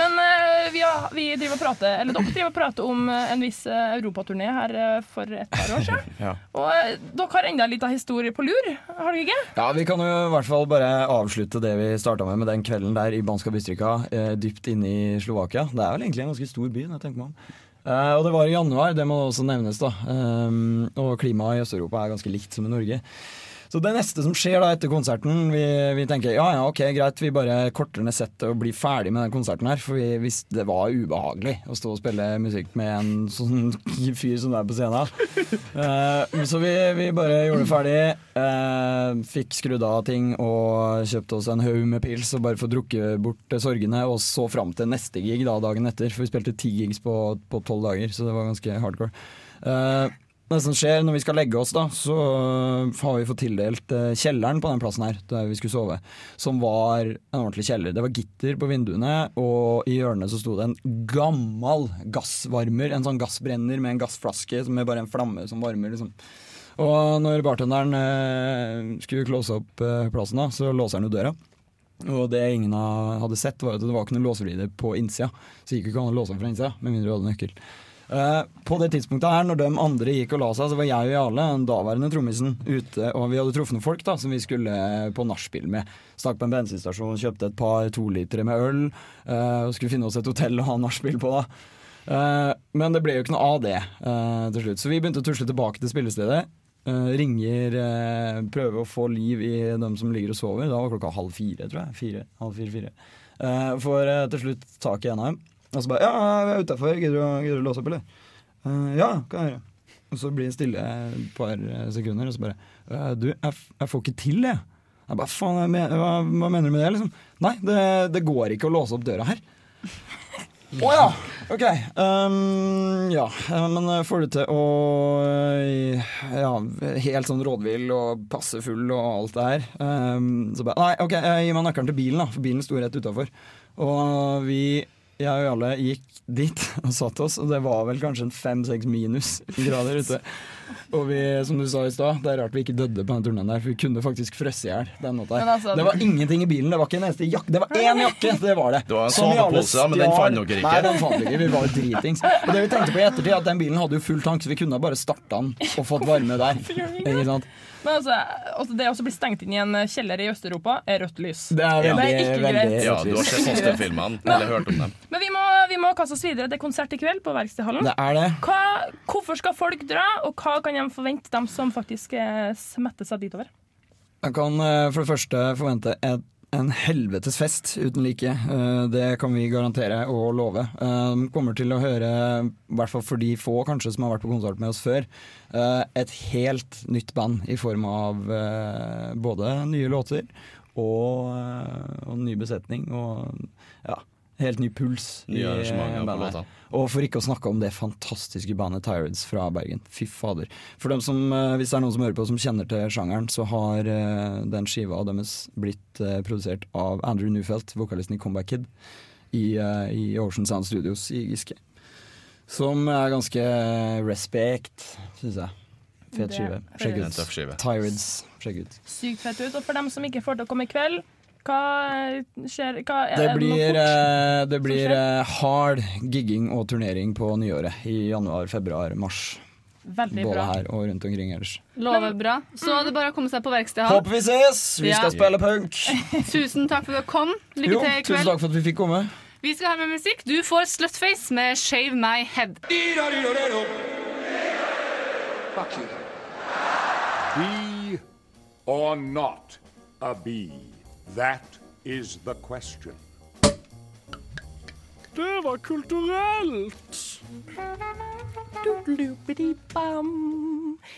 Speaker 5: Men eh, vi, har, vi driver og prater, eller dere driver og prater om eh, en viss eh, europaturné her eh, for et par år siden.
Speaker 10: Ja.
Speaker 5: Og eh, dere har enda litt av historie på lur, har dere ikke?
Speaker 10: Ja, Vi kan jo i hvert fall bare avslutte det vi starta med med den kvelden der i Banska Bystrika, eh, dypt inne i Slovakia. Det er vel egentlig en ganske stor by. når jeg tenker meg om. Eh, og det var i januar, det må også nevnes. da. Ehm, og klimaet i Øst-Europa er ganske likt som i Norge. Så det neste som skjer da etter konserten, vi, vi tenker ja ja, ok, greit, vi bare korter ned settet og blir ferdig med den konserten her. For vi, hvis det var ubehagelig å stå og spille musikk med en sånn <laughs> fyr som er på scenen. Eh, så vi, vi bare gjorde det ferdig. eh, fikk skrudd av ting og kjøpte oss en haug med pils og bare få drukke bort eh, sorgene. Og så fram til neste gig da, dagen etter, for vi spilte ti gigs på på tolv dager, så det var ganske hardcore. Eh, det som skjer når vi skal legge oss, da, så har vi fått tildelt eh, kjelleren på den plassen her, der vi skulle sove, som var en ordentlig kjeller. Det var gitter på vinduene, og i hjørnet så sto det en gammel gassvarmer, en sånn gassbrenner med en gassflaske som med bare en flamme som varmer, liksom. Og når bartenderen eh, skulle close opp eh, plassen, da, så låser han jo døra. Og det ingen av- hadde sett, var at det var ikke noen låsevrider på innsida. Så det gikk jo ikke an å låse opp fra innsida, med mindre du hadde nøkkel. Eh, på det tidspunktet her, når de andre gikk og la seg, så var jeg og Jarle, den daværende trommisen, ute. Og vi hadde truffet noen folk da, som vi skulle på nachspiel med. Stakk på en bensinstasjon, kjøpte et par tolitere med øl. eh, og skulle finne oss et hotell å ha nachspiel på, da. Eh, men det ble jo ikke noe av det eh, til slutt. Så vi begynte å tusle tilbake til spillestedet. eh, ringer, eh, prøver å få liv i dem som ligger og sover. Da var klokka halv fire, tror jeg. Fire, halv fire-fire. får eh, til slutt tak i en av dem. Og så bare 'Ja, vi er utafor. Gidder du å- gidder du å låse opp, eller?' «Eh, ja, kan jeg gjøre. Og så blir det stille et par eh, sekunder, og så bare «Øh, Du, jeg, f- jeg får ikke til, jeg. jeg bare, faen, jeg men, hva, hva mener du med det, liksom? Nei, det, det går ikke å låse opp døra her. Å ja! Ok. ehm, ja, eh, men eh, får du til å eh, Ja, helt sånn rådvill og passe full og alt det her. ehm, så bare Nei, ok, eh, gi meg nøkkelen til bilen, da, for bilen sto rett utafor. Og vi, jeg og alle, gikk dit og satte oss, og det var vel kanskje en fem-seks minus grader ute. Og vi, som du sa i stad, det er rart vi ikke dødde på den turneen der, for vi kunne faktisk frøsse i hjel den natta.
Speaker 11: Men altså-
Speaker 10: det var ingenting i bilen, det var ikke en eneste jakke. Det var én jakke! Det var det.
Speaker 8: Det var en
Speaker 10: Som vi alle
Speaker 8: sovepose, ja, men den
Speaker 10: stjal.
Speaker 8: fant dere ikke.
Speaker 10: Nei, den fant vi ikke. Vi var jo dritings. Og det vi tenkte på i ettertid, at den bilen hadde jo full tank, så vi kunne ha bare starta den og fått varme der. Ikke sant?
Speaker 5: Men altså, altså det å også bli stengt inn i en kjeller i Øst-Europa er rødt lys.
Speaker 10: Det er veldig,
Speaker 5: ikke
Speaker 10: veldig
Speaker 5: greit.
Speaker 8: Ja, du har sett
Speaker 5: Ikke greit.
Speaker 8: Foster-filmene, eller hørt om dem.
Speaker 5: Men vi må, vi må kaste oss videre. Det er konsert i kveld på Verkstedhallen.
Speaker 10: Det er det.
Speaker 5: Hva, hvorfor skal folk dra, og hva kan de forvente, dem som faktisk eh, smetter seg ditover?
Speaker 10: Jeg kan eh, for det første forvente et, en helvetes fest uten like. Eh, Det kan vi garantere og love. Eh, de Kommer til å høre, i hvert fall for de få kanskje som har vært på konsert med oss før, eh, et helt nytt band i form av eh, både nye låter og, eh, og ny besetning og ja, helt ny puls. i,
Speaker 8: Nye arrangementer
Speaker 10: eh,
Speaker 8: på
Speaker 10: bandet.
Speaker 8: låta.
Speaker 10: Og for ikke å snakke om det fantastiske bandet Tyreds fra Bergen. Fy fader. For dem som, eh, Hvis det er noen som hører på som kjenner til sjangeren, så har eh, den skiva deres blitt eh, produsert av Andrew Newfelt, vokalisten i Comeback Kid, i, eh, i Ocean Sound Studios i Giske. Som er ganske respekt, syns jeg. Fet
Speaker 5: Det
Speaker 10: skive.
Speaker 5: høres-
Speaker 10: Sjekk
Speaker 5: Det er en
Speaker 10: ut.
Speaker 5: tøff skive.
Speaker 10: Tyreds. Sjekk ut.
Speaker 5: Sykt fett ut. Og for dem som ikke får til å komme i kveld, hva eh, skjer? Hva, er
Speaker 10: Det
Speaker 5: noe
Speaker 10: blir,
Speaker 5: fort?
Speaker 10: eh, det blir eh, hard gigging og turnering på nyåret. I januar, februar, mars.
Speaker 11: Veldig
Speaker 10: Både
Speaker 11: bra.
Speaker 10: her og rundt omkring ellers.
Speaker 11: Lover bra.
Speaker 3: Mm.
Speaker 11: Så det er bare å komme seg på verkstedet.
Speaker 10: Håper vi ses! Vi
Speaker 11: Ja.
Speaker 10: skal
Speaker 11: <laughs>
Speaker 10: spille punk.
Speaker 11: Tusen takk for at du kom. Lykke
Speaker 10: Jo,
Speaker 11: til i
Speaker 10: tusen
Speaker 11: kveld.
Speaker 10: takk for at vi fikk komme.
Speaker 11: Vi skal ha med musikk. Du får Slutface med Shave My Head.
Speaker 12: Fuck you. Be or not a bee? That is the question.
Speaker 13: Det var kulturelt!
Speaker 6: Doodloopity-bam.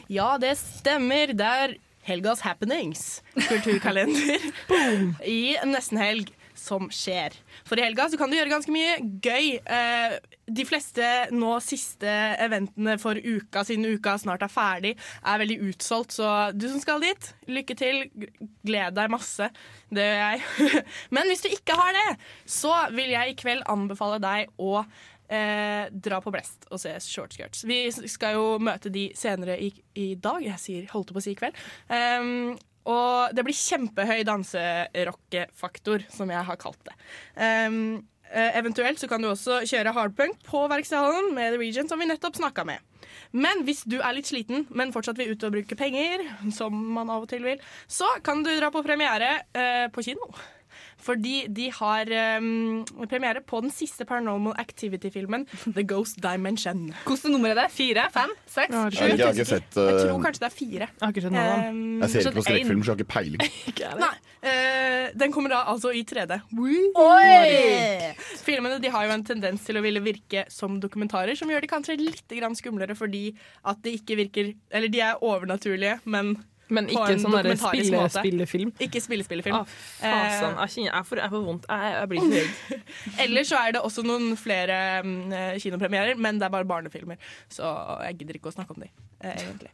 Speaker 6: Ja, det stemmer. Det er helgas happenings kulturkalender i nesten helg som skjer. For i helga så kan du gjøre ganske mye gøy. Eh, De fleste nå siste eventene for uka, siden uka snart er ferdig, er veldig utsolgt, så du som skal dit, lykke til. Gled deg masse. Det gjør jeg. <laughs> Men hvis du ikke har det, så vil jeg i kveld anbefale deg å Eh, dra på Blest og se shortskirts. Vi skal jo møte de senere i, i dag. Jeg sier, holdt på å si i kveld. Ehm, og det blir kjempehøy danserockefaktor, som jeg har kalt det. Ehm, eh, eventuelt så kan du også kjøre hardpunk på Verkstedhallen med The Region, som vi nettopp snakka med. Men hvis du er litt sliten, men fortsatt vil ut og bruke penger, som man av og til vil, så kan du dra på premiere eh, på kino. Fordi de har um, premiere på den siste Paranormal Activity-filmen, The Ghost Dimension.
Speaker 11: Hvilket nummer er det? Fire? Fem? Seks?
Speaker 4: Jeg har ikke- jeg har ikke sett,
Speaker 6: Jeg
Speaker 4: uh,
Speaker 6: tror kanskje det er fire. Um,
Speaker 4: Jeg ser ikke på skrekkfilm, så jeg har ikke peiling.
Speaker 6: Nei, eh, den kommer da altså i 3D.
Speaker 11: Oi!
Speaker 6: Filmene de har jo en tendens til å ville virke som dokumentarer, som gjør de kanskje litt grann skumlere fordi at de ikke virker Eller de er overnaturlige, men
Speaker 14: Men
Speaker 6: på
Speaker 14: ikke
Speaker 6: en
Speaker 14: sånn derre
Speaker 6: dokumentarisk
Speaker 14: spille-
Speaker 6: måte.
Speaker 14: spillefilm.
Speaker 6: Ikke spillefilm.
Speaker 14: Ah, fasen. Jeg kjenner jeg får, jeg får vondt. Jeg, jeg blir så redd.
Speaker 6: Ellers så er det også noen flere mm, eh, kinopremierer, men det er bare barnefilmer. Så jeg gidder ikke å snakke om de, eh, egentlig.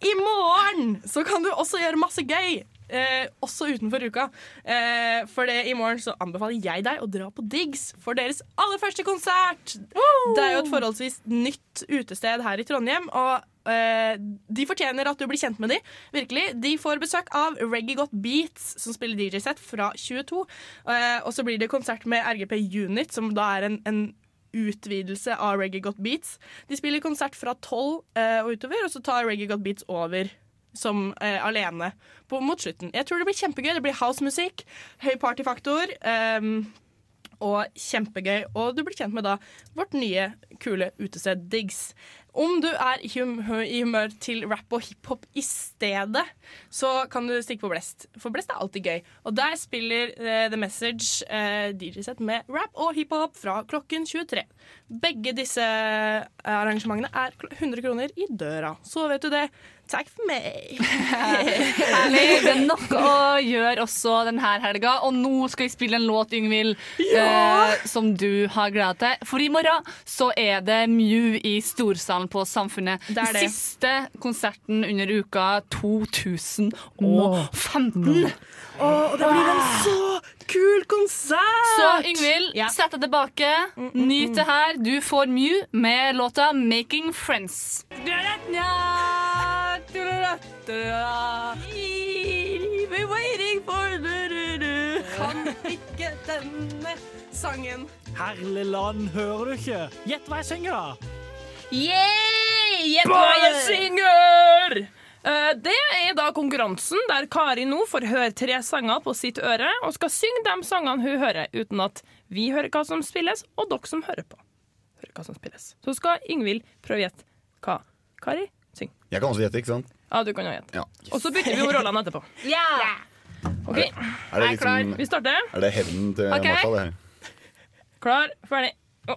Speaker 6: I morgen så kan du også gjøre masse gøy! Eh, også utenfor uka. Eh, for det, i morgen så anbefaler jeg deg å dra på Diggs for deres aller første konsert! Det er jo et forholdsvis nytt utested her i Trondheim, og eh, de fortjener at du blir kjent med de. Virkelig. De får besøk av Reggae Got Beats, som spiller DJ-sett fra 22. Eh, og så blir det konsert med RGP Unit, som da er en, en utvidelse av Reggae Got Beats. De spiller konsert fra tolv eh, og utover, og så tar Reggae Got Beats over som eh, alene på, mot slutten. Jeg tror det blir kjempegøy. Det blir housemusikk, høy partyfaktor. ehm, og kjempegøy. Og du blir kjent med da vårt nye kule utested Diggs. Om du er i humør, i humør til rap og hiphop i stedet, så kan du stikke på Blest. For Blest er alltid gøy. Og der spiller eh, The Message eh, DJ-sett med rap og hiphop fra klokken 23. Begge disse eh, arrangementene er kl- 100 kroner i døra. Så vet du det. Takk for meg.
Speaker 3: Herlig. Det er nok å gjøre også denne helga. Og nå skal vi spille en låt, Yngvild,
Speaker 6: Ja.
Speaker 3: eh, som du har gleda til. For i morgen så er det Mew i storsalen på Samfunnet.
Speaker 6: Det er det.
Speaker 3: Siste konserten under uka 2015.
Speaker 6: Og det blir en så kul konsert!
Speaker 3: Så Yngvild, sett deg tilbake. Nyt det her. Du får Mew med låta 'Making Friends'.
Speaker 6: We're waiting for du-du-du. Kan ikke denne sangen.
Speaker 15: Herlig land, hører du ikke? Gjett hva jeg synger, da!
Speaker 5: Yeah!
Speaker 15: Gjett hva
Speaker 5: Bare
Speaker 15: jeg-
Speaker 5: synger! Eh, Det er da konkurransen der Kari nå får høre tre sanger på sitt øre, og skal synge de sangene hun hører, uten at vi hører hva som spilles, og dere som hører på, hører hva som spilles. Så skal Yngvild prøve å gjette hva Kari synger.
Speaker 4: Jeg kan også gjette, ikke sant?
Speaker 5: Ja, du kan jo gjette.
Speaker 4: Ja.
Speaker 5: Og så bytter vi jo rollene etterpå. OK,
Speaker 4: Er det
Speaker 5: jeg er klar.
Speaker 4: liksom-
Speaker 5: Vi starter.
Speaker 4: Er det hevnen til
Speaker 5: Ok.
Speaker 4: Martha, det her?
Speaker 5: Klar, ferdig. Å.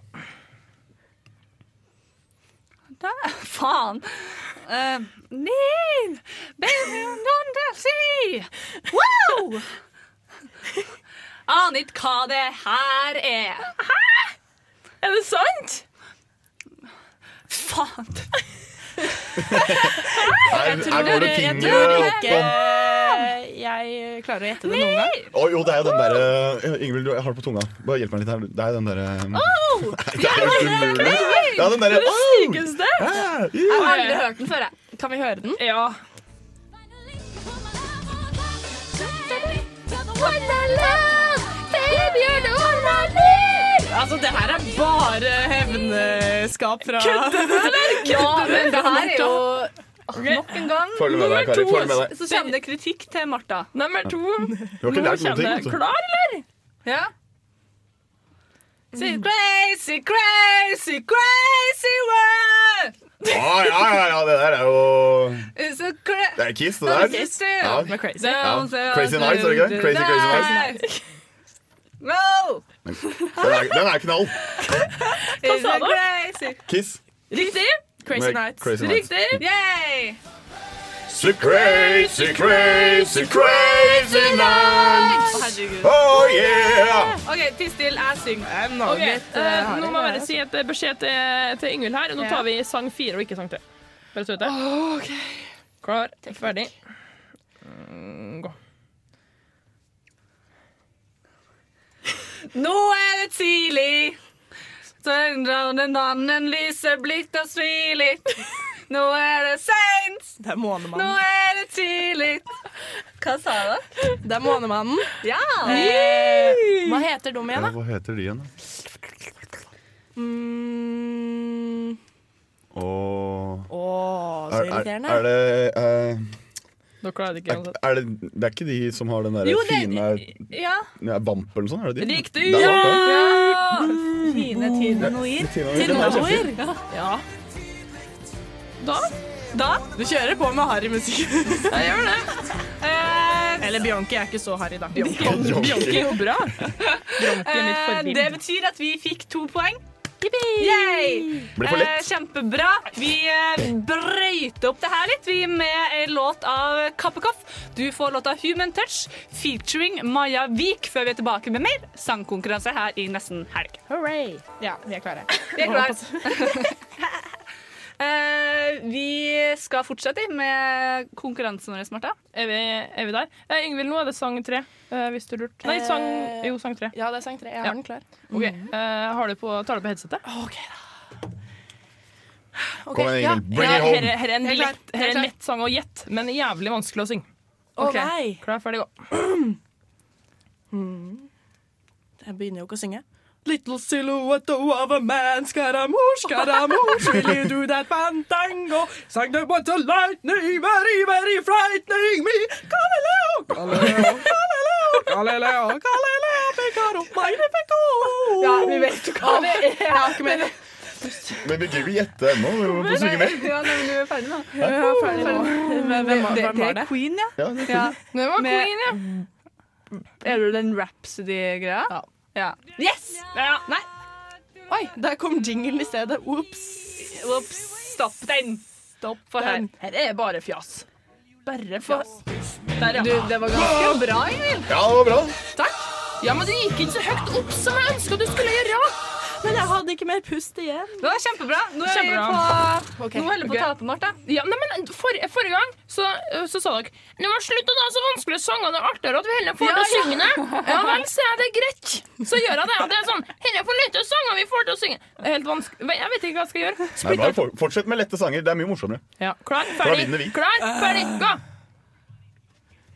Speaker 3: Da, faen. Uh, Neil, baby, don't you see? Wow! Aner ikke hva det her er. Hæ?
Speaker 5: Er det sant?
Speaker 3: Faen.
Speaker 4: Her,
Speaker 6: tror
Speaker 4: her går det
Speaker 6: det- jeg
Speaker 4: ting
Speaker 6: tror
Speaker 4: eh,
Speaker 6: ikke-
Speaker 4: opp om
Speaker 6: Jeg klarer å gjette det noen gang.
Speaker 4: Å jo, det er jo den derre Ingvild, du har det på tunga. Bare hjelp meg litt her. Det er jo den <laughs> derre
Speaker 3: Oh!
Speaker 4: Det er helt umulig. Ja, den eh, derre Å!
Speaker 5: sykeste!
Speaker 3: Jeg har aldri hørt den før, jeg.
Speaker 6: Kan vi høre den?
Speaker 5: Ja.
Speaker 6: Altså, det her er bare hevneskap fra
Speaker 5: Kødder du, eller?
Speaker 3: Ja,
Speaker 5: Kødder du?
Speaker 3: men det her er jo
Speaker 5: Ok.
Speaker 3: Nok en gang.
Speaker 4: Følg med deg, Kari. Følg med deg.
Speaker 3: Så kommer det kritikk til Martha.
Speaker 5: Nummer to.
Speaker 4: <laughs> Du
Speaker 5: Eh,
Speaker 4: har ikke lært noen ting,
Speaker 5: kjenner-
Speaker 4: altså.
Speaker 5: Klar, eller?
Speaker 3: Ja. Say crazy, crazy, crazy world.
Speaker 4: Å, Ah, ja, ja, ja, det der er jo
Speaker 3: It's a cra
Speaker 4: Det er Kiss, det der.
Speaker 3: Kiss, det.
Speaker 4: Ja.
Speaker 3: Med Crazy.
Speaker 4: Ja. Crazy Nights, er det ikke det? Crazy, Crazy Nights.
Speaker 3: No!
Speaker 4: Den er, den er knall.
Speaker 3: Hva sa du? Crazy.
Speaker 4: Kiss.
Speaker 5: Riktig.
Speaker 4: Crazy Med Nights. Crazy Nights.
Speaker 5: Riktig.
Speaker 3: Yay!
Speaker 4: So crazy, crazy, crazy
Speaker 3: Å, herregud. OK, tiss still, jeg synger.
Speaker 5: Ok,
Speaker 3: Okay,
Speaker 5: eh,
Speaker 3: eh,
Speaker 5: nå må jeg bare si
Speaker 6: altså?
Speaker 5: et beskjed til, eh, til Yngvild her. Nå
Speaker 3: Ja.
Speaker 5: tar vi sang fire og ikke sang tre. Bare så du vet det. Klar, ferdig. Mm, Gå.
Speaker 3: Nå er det tidlig. Søndra og den annen lyser blitt og smiler. Nå er det seint.
Speaker 6: Det er Månemannen.
Speaker 3: Nå er det tidlig. Hva sa du?
Speaker 6: Det er Månemannen.
Speaker 3: Ja.
Speaker 6: Eh, hva heter de igjen, da?
Speaker 4: Hva heter de igjen, da?
Speaker 6: Mm,
Speaker 4: Åh.
Speaker 6: Åh, så
Speaker 4: Er, er,
Speaker 6: irriterende.
Speaker 4: er det eh,
Speaker 5: Dere klarer det ikke uansett.
Speaker 4: er det, det er ikke de som har den der
Speaker 5: Jo, det-
Speaker 4: fine
Speaker 5: ja.
Speaker 4: ja, Bamp eller sånn? Er det de?
Speaker 5: Riktig!
Speaker 4: Der var det.
Speaker 3: Fine
Speaker 4: Tinoir. Tinoir.
Speaker 5: Ja. Da? Da?
Speaker 6: Du kjører på med harry musikk.
Speaker 5: Jeg gjør det.
Speaker 3: Eh,
Speaker 6: Eller Bianchi er ikke så harry, da.
Speaker 5: Bjonke er jo
Speaker 3: <laughs>
Speaker 5: bra. Bjonke er litt
Speaker 3: Eh,
Speaker 5: forvild.
Speaker 3: Det betyr at vi fikk to poeng. Yay!
Speaker 5: Blir for lett.
Speaker 3: Eh, kjempebra. Vi eh, brøyter opp det her litt Vi med en låt av Kappekoff. Du får låta 'Human Touch' featuring Maja Vik før vi er tilbake med mer sangkonkurranse her i nesten helg.
Speaker 6: Hooray. Ja, vi er klare.
Speaker 3: Vi er klare. Eh, vi skal fortsette med konkurransen vår, Martha.
Speaker 5: Er vi, er vi der? Eh, Yngvild, nå er det sang tre, eh, hvis du lurte. Nei, sang, jo, sang tre.
Speaker 6: Eh, Ja, det er sang tre. Jeg har
Speaker 5: Ja.
Speaker 6: den klar. Mm.
Speaker 5: Ok, eh, har du på, tar du på headsetet?
Speaker 6: Ok, da.
Speaker 4: Kom igjen, Ingrid. Bring it home.
Speaker 5: Her, her er en,
Speaker 6: Jeg er klar.
Speaker 5: lett, her
Speaker 6: Jeg er
Speaker 5: er en
Speaker 6: klar.
Speaker 5: lett sang å gjette, men jævlig vanskelig å synge.
Speaker 6: Å,
Speaker 5: Ok,
Speaker 6: nei.
Speaker 5: Klar, ferdig, gå.
Speaker 6: Hmm. Jeg begynner jo ikke å synge. Little silhouette of a man, scaramouche, <laughs> scaramouche, will you do that fandango? Sang the want to lightning, very, very frightening me. Galileo, Galileo, Galileo, Galileo, Galileo, Galileo, Galileo,
Speaker 3: vi vet jo hva det er.
Speaker 6: Jeg har ikke
Speaker 3: <laughs>
Speaker 6: mer.
Speaker 4: Men vi gidder ikke gjette ennå. Vi må få synge mer.
Speaker 3: Ja, nei, men du er ferdig nå.
Speaker 6: Ja, jeg er ferdig nå. Hvem- hvem var-
Speaker 3: det,
Speaker 6: hvem
Speaker 3: det
Speaker 6: var
Speaker 3: er
Speaker 6: det?
Speaker 3: Queen, ja.
Speaker 4: Ja,
Speaker 6: det er Queen. Det var Queen,
Speaker 3: ja. Er du den Rhapsody-greia? Ja. Yes! Ja. Nei.
Speaker 6: Oi, der kom jinglen i stedet. Ops.
Speaker 3: Ops. Stopp den. Stopp for her.
Speaker 5: Den. Her er bare fjas. Bare fjas.
Speaker 3: Der, ja. Du, det var ganske bra, Ingvild.
Speaker 4: Ja, det var bra.
Speaker 5: Takk. Ja, men du gikk ikke så høyt opp som jeg ønska du skulle gjøre.
Speaker 6: Men jeg hadde ikke mer pust igjen.
Speaker 3: Det var kjempebra. Nå er
Speaker 5: Kjempebra.
Speaker 3: vi på Nå holder vi på å ta på Martha.
Speaker 5: Ja, nei, men for, Forrige gang så, så sa dere Nå må slutt å ta så vanskelige sanger, det er artigere at vi heller får
Speaker 3: Ja,
Speaker 5: til å synge
Speaker 3: ja.
Speaker 5: det. Ja vel, sier jeg, det er greit. Så gjør jeg det. Og det er sånn Dette er for lite sanger vi får til å synge. Det er Helt vanskelig. Jeg vet ikke hva jeg skal gjøre.
Speaker 4: Nei,
Speaker 5: Splitt
Speaker 4: bare
Speaker 5: opp.
Speaker 4: for- fortsett med lette sanger. Det er mye morsommere.
Speaker 5: Ja, klar,
Speaker 4: Da
Speaker 5: ferdig,
Speaker 4: vinner vi.
Speaker 5: klar, ferdig, gå!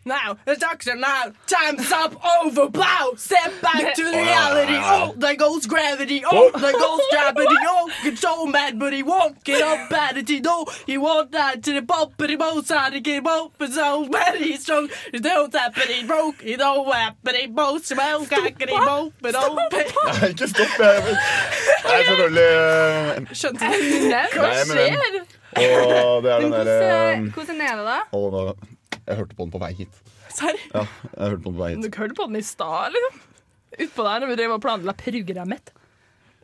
Speaker 6: Now, the doctor now, time's up, over, blow, step back <laughs> to reality, oh, there goes gravity, oh, there goes <laughs> gravity, oh, get so mad, but he won't get up at it, no, he won't die to the bump, but he won't try to get him open, so mad he's strong, he knows that, but he broke, he don't whap, but he won't smell, can't get him open, open.
Speaker 4: Nei, ikke stopp. Jeg vet. Det er selvfølgelig eh,
Speaker 6: <laughs> Skjønte
Speaker 4: Hva Nei, men den- skjer? Og det er den eh, derre
Speaker 3: Hvordan er det, da?
Speaker 4: Å, nå- Jeg hørte på den på vei hit.
Speaker 5: Serr?
Speaker 4: Ja, jeg hørte på den på vei hit.
Speaker 5: Du hørte på den i stad, liksom? Utpå der når vi drev og planla programmet.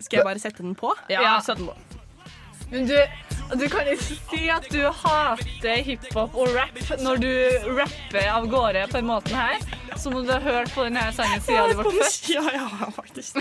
Speaker 6: Skal jeg bare sette den på?
Speaker 5: Ja, sett den på.
Speaker 3: Men du, du kan ikke si at du hater hiphop og rap når du rapper av gårde på den måten her. Som om du har hørt på denne sangen siden du ble født.
Speaker 6: Ja, ja, faktisk.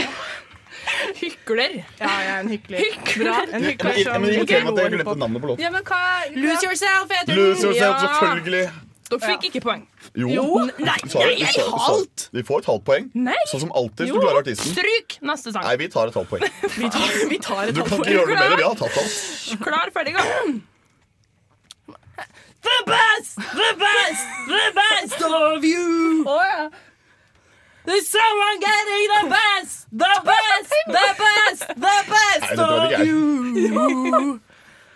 Speaker 5: Hykler.
Speaker 6: Ja, jeg er en hykler.
Speaker 3: Bra.
Speaker 6: En
Speaker 4: Men-
Speaker 6: hykler
Speaker 4: men- men irriterer meg
Speaker 6: som
Speaker 4: at jeg
Speaker 6: ikke
Speaker 4: glemte navnet på låten.
Speaker 3: Ja, men hva
Speaker 6: Lose yourself, heter den.
Speaker 4: Lose yourself,
Speaker 6: Ja.
Speaker 4: selvfølgelig.
Speaker 5: Dere fikk ikke poeng.
Speaker 4: Jo.
Speaker 5: Jo.
Speaker 4: Du
Speaker 5: Nei,
Speaker 4: sa-
Speaker 5: jeg-
Speaker 4: du sa-
Speaker 5: jeg
Speaker 4: du sa-
Speaker 5: halvt.
Speaker 4: Vi får et halvt poeng.
Speaker 5: Nei.
Speaker 4: Sånn som alltid hvis du
Speaker 5: Jo.
Speaker 4: klarer artisten.
Speaker 5: Stryk neste sang.
Speaker 4: Nei, vi tar et halvt poeng.
Speaker 5: Vi tar, vi tar
Speaker 4: Du kan ikke gjøre noe mer. Vi har tatt alt.
Speaker 5: Klar, ferdig, gå.
Speaker 6: The best, the best, the best of you. There's someone getting the best, the best, the best, the
Speaker 4: Nei,
Speaker 6: best
Speaker 4: dette var
Speaker 6: of
Speaker 4: ikke jeg.
Speaker 3: <laughs>
Speaker 6: you.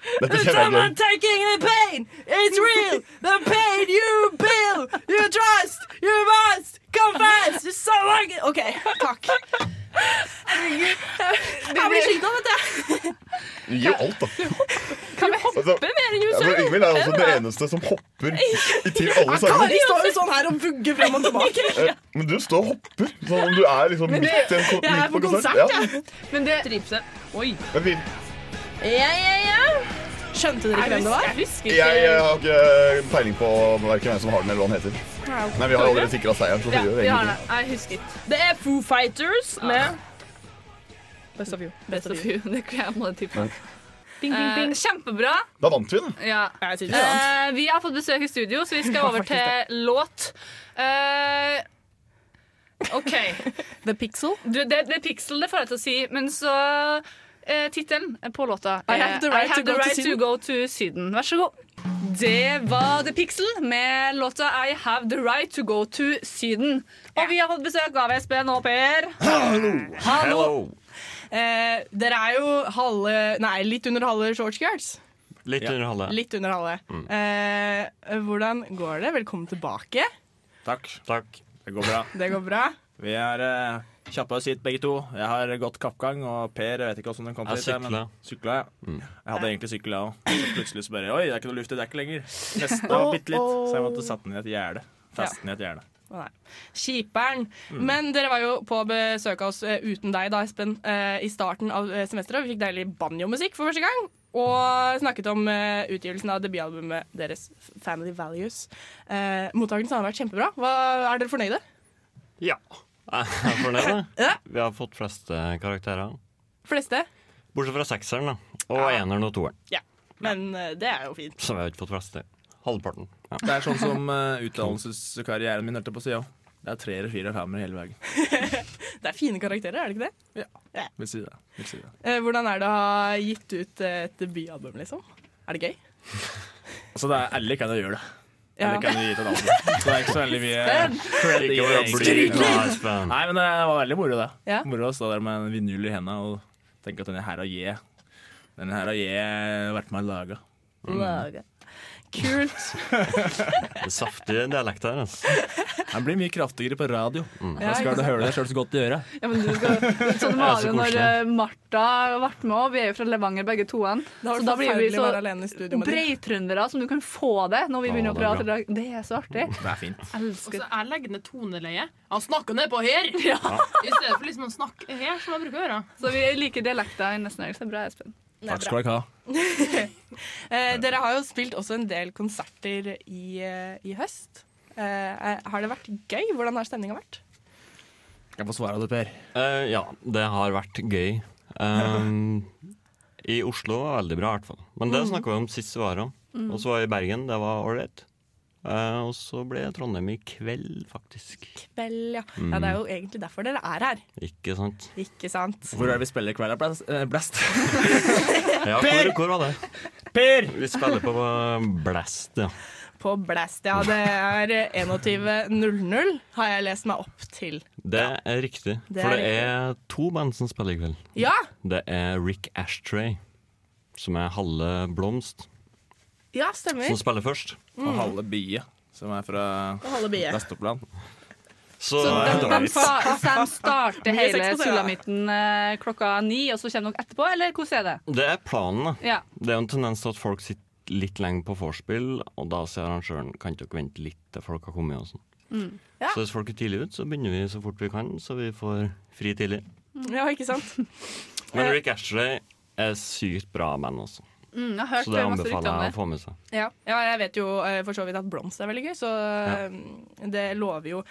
Speaker 4: Dette
Speaker 6: There's
Speaker 4: kjenner jeg
Speaker 6: someone
Speaker 4: ikke.
Speaker 6: taking the pain. It's real. The pain you build, you trust, you must confess. There's someone get- <laughs> OK, takk. Jeg blir sliten av dette.
Speaker 4: Du gir jo alt, da. Altså,
Speaker 5: Kan vi hoppe mer enn
Speaker 4: Ja, for Ingvild er jo også den eneste som hopper i- til alle sangene.
Speaker 6: Kari står jo sånn her og vugger frem og tilbake.
Speaker 4: Eh, Men du står og hopper, sånn om du er liksom
Speaker 6: Men
Speaker 4: midt
Speaker 6: du-
Speaker 4: i en ko-
Speaker 6: jeg er
Speaker 4: midt på
Speaker 6: på
Speaker 4: konsert.
Speaker 6: konsert,
Speaker 4: Ja.
Speaker 6: jeg.
Speaker 3: Men det
Speaker 5: Tripset. Oi.
Speaker 4: Men vi-
Speaker 6: Ja, ja, ja. Skjønte dere ikke hvem det var?
Speaker 4: Jeg, jeg har ikke eh, peiling på hverken hvem som har den, eller hva den heter. Nei, Vi har jo allerede sikra seieren. så det
Speaker 5: Ja,
Speaker 4: gjør jo
Speaker 5: vi har
Speaker 4: egentlig
Speaker 5: det. Jeg husker ikke. Det er Foo Fighters med Best of You.
Speaker 3: Best of you. Det kan jeg måle tippe.
Speaker 4: Nei.
Speaker 5: Bing, bing,
Speaker 3: Eh,
Speaker 5: bing.
Speaker 3: kjempebra.
Speaker 4: ikke. Da vant vi, da.
Speaker 3: Ja.
Speaker 5: synes det er
Speaker 3: Eh, vi har fått besøk i studio, så vi skal
Speaker 5: Ja,
Speaker 3: over
Speaker 5: faktisk
Speaker 3: til låt. Eh, OK.
Speaker 6: The Pixel?
Speaker 3: Du, det, det er Pixel det får jeg til å si, men så uh, Tittelen på låta
Speaker 6: I
Speaker 3: er
Speaker 6: have the right to go to
Speaker 3: right
Speaker 6: Syden.
Speaker 3: go to Syden. Vær så god. Det var The Pixel med låta I Have The Right To Go To Syden. Og vi har fått besøk av Espen og Per.
Speaker 6: Hallo. Eh, dere er jo halve Nei, litt under halve shortskirts.
Speaker 16: Litt under halve.
Speaker 6: Litt under halve.
Speaker 16: Mm.
Speaker 6: Eh, hvordan går det? Velkommen tilbake.
Speaker 16: Takk. Takk. Det går bra.
Speaker 6: Det går bra.
Speaker 16: Vi er eh, kjappe og sitt, begge to. Jeg har gått kappgang, og Per jeg vet ikke hvordan den kom Jeg til. dette, men- syklet. Mm. Syklet, ja. Jeg hadde egentlig sykkel, jeg òg. Så plutselig så bare Oi, det er ikke noe luft i dekket lenger. Nesten var bitte litt, så jeg måtte sette den i et gjerde. Feste den i et gjerde.
Speaker 6: Å, Nei. Kjiperen.
Speaker 16: Mm.
Speaker 6: Men dere var jo på besøk av oss eh, uten deg, da, Espen, eh, i starten av eh, semesteret. Vi fikk deilig banjomusikk for første gang. Og snakket om eh, utgivelsen av debutalbumet deres, Family Values. Eh, mottakelsen har vært kjempebra. Hva, er dere fornøyde?
Speaker 16: Ja.
Speaker 6: De
Speaker 16: Jeg <laughs> er fornøyd,
Speaker 6: da.
Speaker 16: Vi har fått flest karakterer.
Speaker 6: fleste?
Speaker 16: Bortsett fra sekseren, da. Og eneren og toeren.
Speaker 6: Ja. Men eh, det er jo fint.
Speaker 16: Så vi har ikke fått flest. Halvparten. Det er sånn som eh, utdannelseskarrieren min holdt jeg på å si òg. Det er treere, firere, femmere hele veien.
Speaker 6: Det er fine karakterer, er det ikke det?
Speaker 16: Vil si det. Vil si det.
Speaker 6: Eh, hvordan er det å ha gitt ut eh, et debutalbum, liksom? Er det gøy?
Speaker 16: Altså, det er alle kan jo gjøre det.
Speaker 6: Ja.
Speaker 16: Alle kan jo gi til navnet. Så <laughs> det er ikke så veldig mye
Speaker 6: Espen!
Speaker 16: cred i
Speaker 6: Ikke
Speaker 16: det,
Speaker 6: å
Speaker 16: egentlig.
Speaker 6: bli glad,
Speaker 16: Nei, men eh, det var veldig moro, det.
Speaker 6: Ja.
Speaker 16: Moro å stå der med en vinyl i henda og tenke at denne her har jeg Denne her har jeg vært med og laga.
Speaker 6: Laga. Kult.
Speaker 17: Det saftige dialekt her. Altså.
Speaker 16: Den blir mye kraftigere på radio.
Speaker 17: Ja,
Speaker 16: Da skal
Speaker 17: ikke
Speaker 16: du høre
Speaker 17: sant?
Speaker 16: deg sjøl så godt i øret.
Speaker 3: Ja, men du
Speaker 6: <laughs>
Speaker 3: skal, sånn
Speaker 16: Det er
Speaker 3: var det
Speaker 16: så
Speaker 3: når
Speaker 16: koselig.
Speaker 3: eh, Martha ble med òg. Vi er jo fra Levanger begge toen.
Speaker 6: Det har vært
Speaker 3: Så da blir vi
Speaker 6: forferdelig å være alene i studio
Speaker 3: så
Speaker 6: med de.
Speaker 3: breitrøndere som du kan få det når vi
Speaker 16: Å,
Speaker 3: begynner å
Speaker 16: det er
Speaker 3: prate. i dag. Det er så artig.
Speaker 16: Det er fint.
Speaker 3: Elsker
Speaker 5: Og så jeg legger ned toneleiet. Han snakker nedpå her! I stedet for liksom å snakke her, som jeg bruker å gjøre.
Speaker 3: Så vi liker dialekter i nesten helg. Så bra, Espen.
Speaker 16: Takk skal dere ha.
Speaker 6: Eh, dere har jo spilt også en del konserter i, eh, i høst. Eh, er- har det vært gøy? Hvordan har stemninga vært?
Speaker 16: Jeg får svare av det, Per.
Speaker 17: Eh, ja, det har vært
Speaker 16: <laughs>
Speaker 17: gøy. Ehm, I Oslo var det veldig bra, i hvert fall. Men det
Speaker 16: Mm.
Speaker 6: Mhm.
Speaker 17: snakka vi om sist vi var om.
Speaker 6: Mm.
Speaker 17: Og så var jeg i Bergen, det var ålreit. Eh, og så ble Trondheim i kveld, faktisk.
Speaker 6: Vel, ja. ja. Det er jo egentlig derfor dere er her.
Speaker 17: Ikke sant?
Speaker 6: Ikke sant?
Speaker 16: Hvor er det vi spiller i kveld, da, Blast? eh, Blast?
Speaker 17: <laughs> Ja, hvor,
Speaker 16: Per!
Speaker 17: hvor var det?
Speaker 16: Per!
Speaker 17: Vi spiller på eh, Blast, ja.
Speaker 6: På Blast, ja. Det er eh, 21.00, har jeg lest meg opp til.
Speaker 17: Det er riktig.
Speaker 6: Det
Speaker 17: For
Speaker 6: er
Speaker 17: det er to band som spiller i kveld.
Speaker 6: Ja!
Speaker 17: Det er Rick Ashtray, som er halve blomst,
Speaker 6: Ja, stemmer.
Speaker 17: som spiller først.
Speaker 6: Mm. Og halve
Speaker 17: bie, som er fra
Speaker 6: Og halve bie.
Speaker 16: Vestoppland.
Speaker 17: Så, eh,
Speaker 3: Så de, de,
Speaker 17: Nice.
Speaker 3: sta- så de starter
Speaker 6: Mye
Speaker 3: hele
Speaker 6: sex på det, ja.
Speaker 3: sulamitten eh, klokka ni, og så kommer dere etterpå, eller hvordan er det?
Speaker 17: Det er planen, da.
Speaker 3: Ja.
Speaker 17: Det er jo en tendens til at folk sitter litt lenge på vorspiel, og da sier arrangøren kan ikke dere vente litt til folk har kommet. og sånn.
Speaker 6: Mm. Ja.
Speaker 17: Så hvis folk er tidlig ute, så begynner vi så fort vi kan, så vi får fri tidlig.
Speaker 6: ja, ikke sant? Eh.
Speaker 17: Men Rick Ashley er sykt bra band også,
Speaker 6: Mm, jeg har hørt
Speaker 17: så det
Speaker 6: masse rykter om
Speaker 17: anbefaler jeg
Speaker 6: det.
Speaker 17: å få med seg.
Speaker 6: Ja. ja, jeg vet jo eh, for så vidt at blomst er veldig gøy, så eh, det lover jo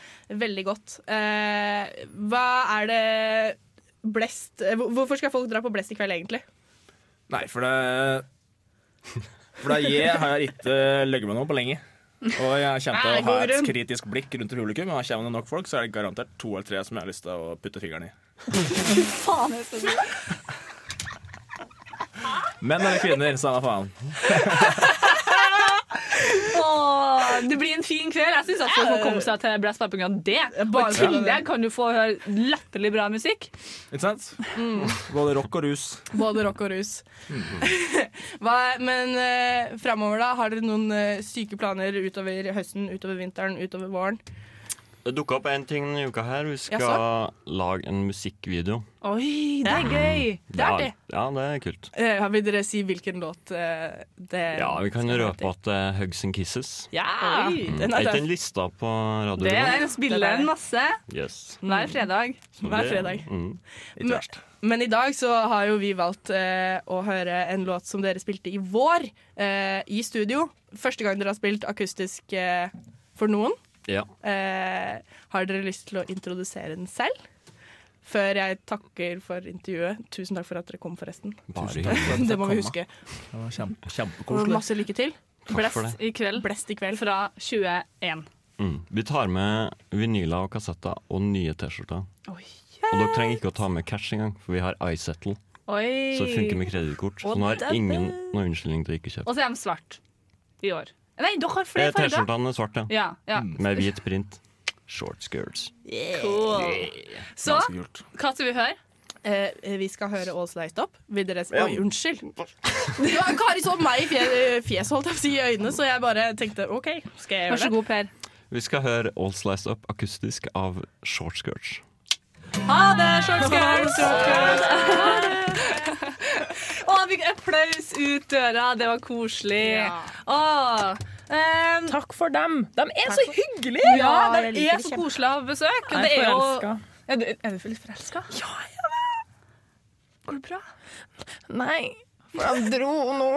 Speaker 6: veldig godt. Eh, hva er det Blest eh, hvor- Hvorfor skal folk dra på Blest i kveld, egentlig?
Speaker 16: Nei, for det For det jeg har ikke løyet meg noe på lenge. Og jeg kommer til
Speaker 6: Nei,
Speaker 16: å ha
Speaker 6: god grunn.
Speaker 16: et kritisk blikk rundt i publikum. Og kommer det nok folk, så er det garantert to eller tre som jeg har lyst til å putte fingeren i.
Speaker 3: Faen, Espen.
Speaker 16: Menn eller kvinner, samme faen.
Speaker 3: Åh, det blir en fin kveld. Jeg syns folk må komme seg til Blast Pappinga. Det. Og
Speaker 16: Bare
Speaker 3: i tillegg kan du få høre latterlig bra musikk.
Speaker 16: Ikke sant? Mm. Både rock og rus.
Speaker 6: Både rock og rus. <laughs> Hva, men uh, framover, da? Har dere noen eh, syke planer utover høsten, utover vinteren, utover våren?
Speaker 17: Det dukka opp en ting denne uka her. Vi skal
Speaker 6: Jaså?
Speaker 17: lage en musikkvideo.
Speaker 6: Oi, det er gøy! Det er det.
Speaker 17: Ja, ja, det er kult.
Speaker 6: Eh, vil dere si hvilken låt eh, det
Speaker 17: Ja, vi kan røpe at det er Hugs and Kisses.
Speaker 6: Ja!
Speaker 17: Mm. Er ikke den lista på radioen?
Speaker 3: Det er den spiller en masse
Speaker 17: Yes.
Speaker 3: hver fredag.
Speaker 17: Så
Speaker 6: Hver
Speaker 17: det-
Speaker 6: fredag.
Speaker 17: Mm.
Speaker 6: Men, men i dag så har jo vi valgt eh, å høre en låt som dere spilte i vår eh, i studio. Første gang dere har spilt akustisk eh, for noen.
Speaker 17: Ja.
Speaker 6: Eh, har dere lyst til å introdusere den selv? Før jeg takker for intervjuet. Tusen takk for at dere kom, forresten.
Speaker 17: Bare
Speaker 6: Tusen takk for at
Speaker 17: hyggelig.
Speaker 6: Det må vi huske.
Speaker 16: Det var kjempe,
Speaker 6: Og
Speaker 16: kjempekoselig.
Speaker 6: masse lykke til.
Speaker 17: Takk for det.
Speaker 3: I kveld.
Speaker 6: Blest i kveld.
Speaker 3: Fra 21.
Speaker 17: Mm. Vi tar med vinyler og kassetter og nye T-skjorter. Og dere trenger ikke å ta med cash engang, for vi har iSettle.
Speaker 3: Oi.
Speaker 17: Så det funker med kredittkort. Så
Speaker 3: Å,
Speaker 17: nå har
Speaker 3: dæven.
Speaker 17: ingen noen unnskyldning til å ikke
Speaker 3: Og
Speaker 17: kjøpe.
Speaker 3: så er de svart i år. Nei, dere har
Speaker 17: Eh,
Speaker 3: flere farger.
Speaker 17: T-skjortene er svarte,
Speaker 3: Ja, ja.
Speaker 17: Med hvit print. Short skirts.
Speaker 3: Cool. Så
Speaker 17: Ganske kult.
Speaker 3: hva skal vi høre?
Speaker 6: Eh, vi skal høre All Sliced Up. Vil dere s-
Speaker 17: Ja.
Speaker 6: Oi, unnskyld. <laughs> Ja, Kari så meg i fje- fjeset, holdt jeg på å si, i øynene, så jeg bare tenkte OK, skal jeg gjøre det?
Speaker 3: Vær så god, Per.
Speaker 17: Vi skal høre All Sliced Up akustisk av Short Skirts.
Speaker 3: Ha det, shortskirts! <laughs> Å, han fikk applaus ut døra. Det var koselig. Å, ehm,
Speaker 5: Takk for dem. De er så hyggelige!
Speaker 3: Ja, de er så koselige å ha besøk. og
Speaker 5: Jeg er
Speaker 3: det er jo-
Speaker 5: forelska.
Speaker 3: Er du, er du litt forelska? Ja, jeg er det. Går det bra?
Speaker 5: Nei, for de dro nå.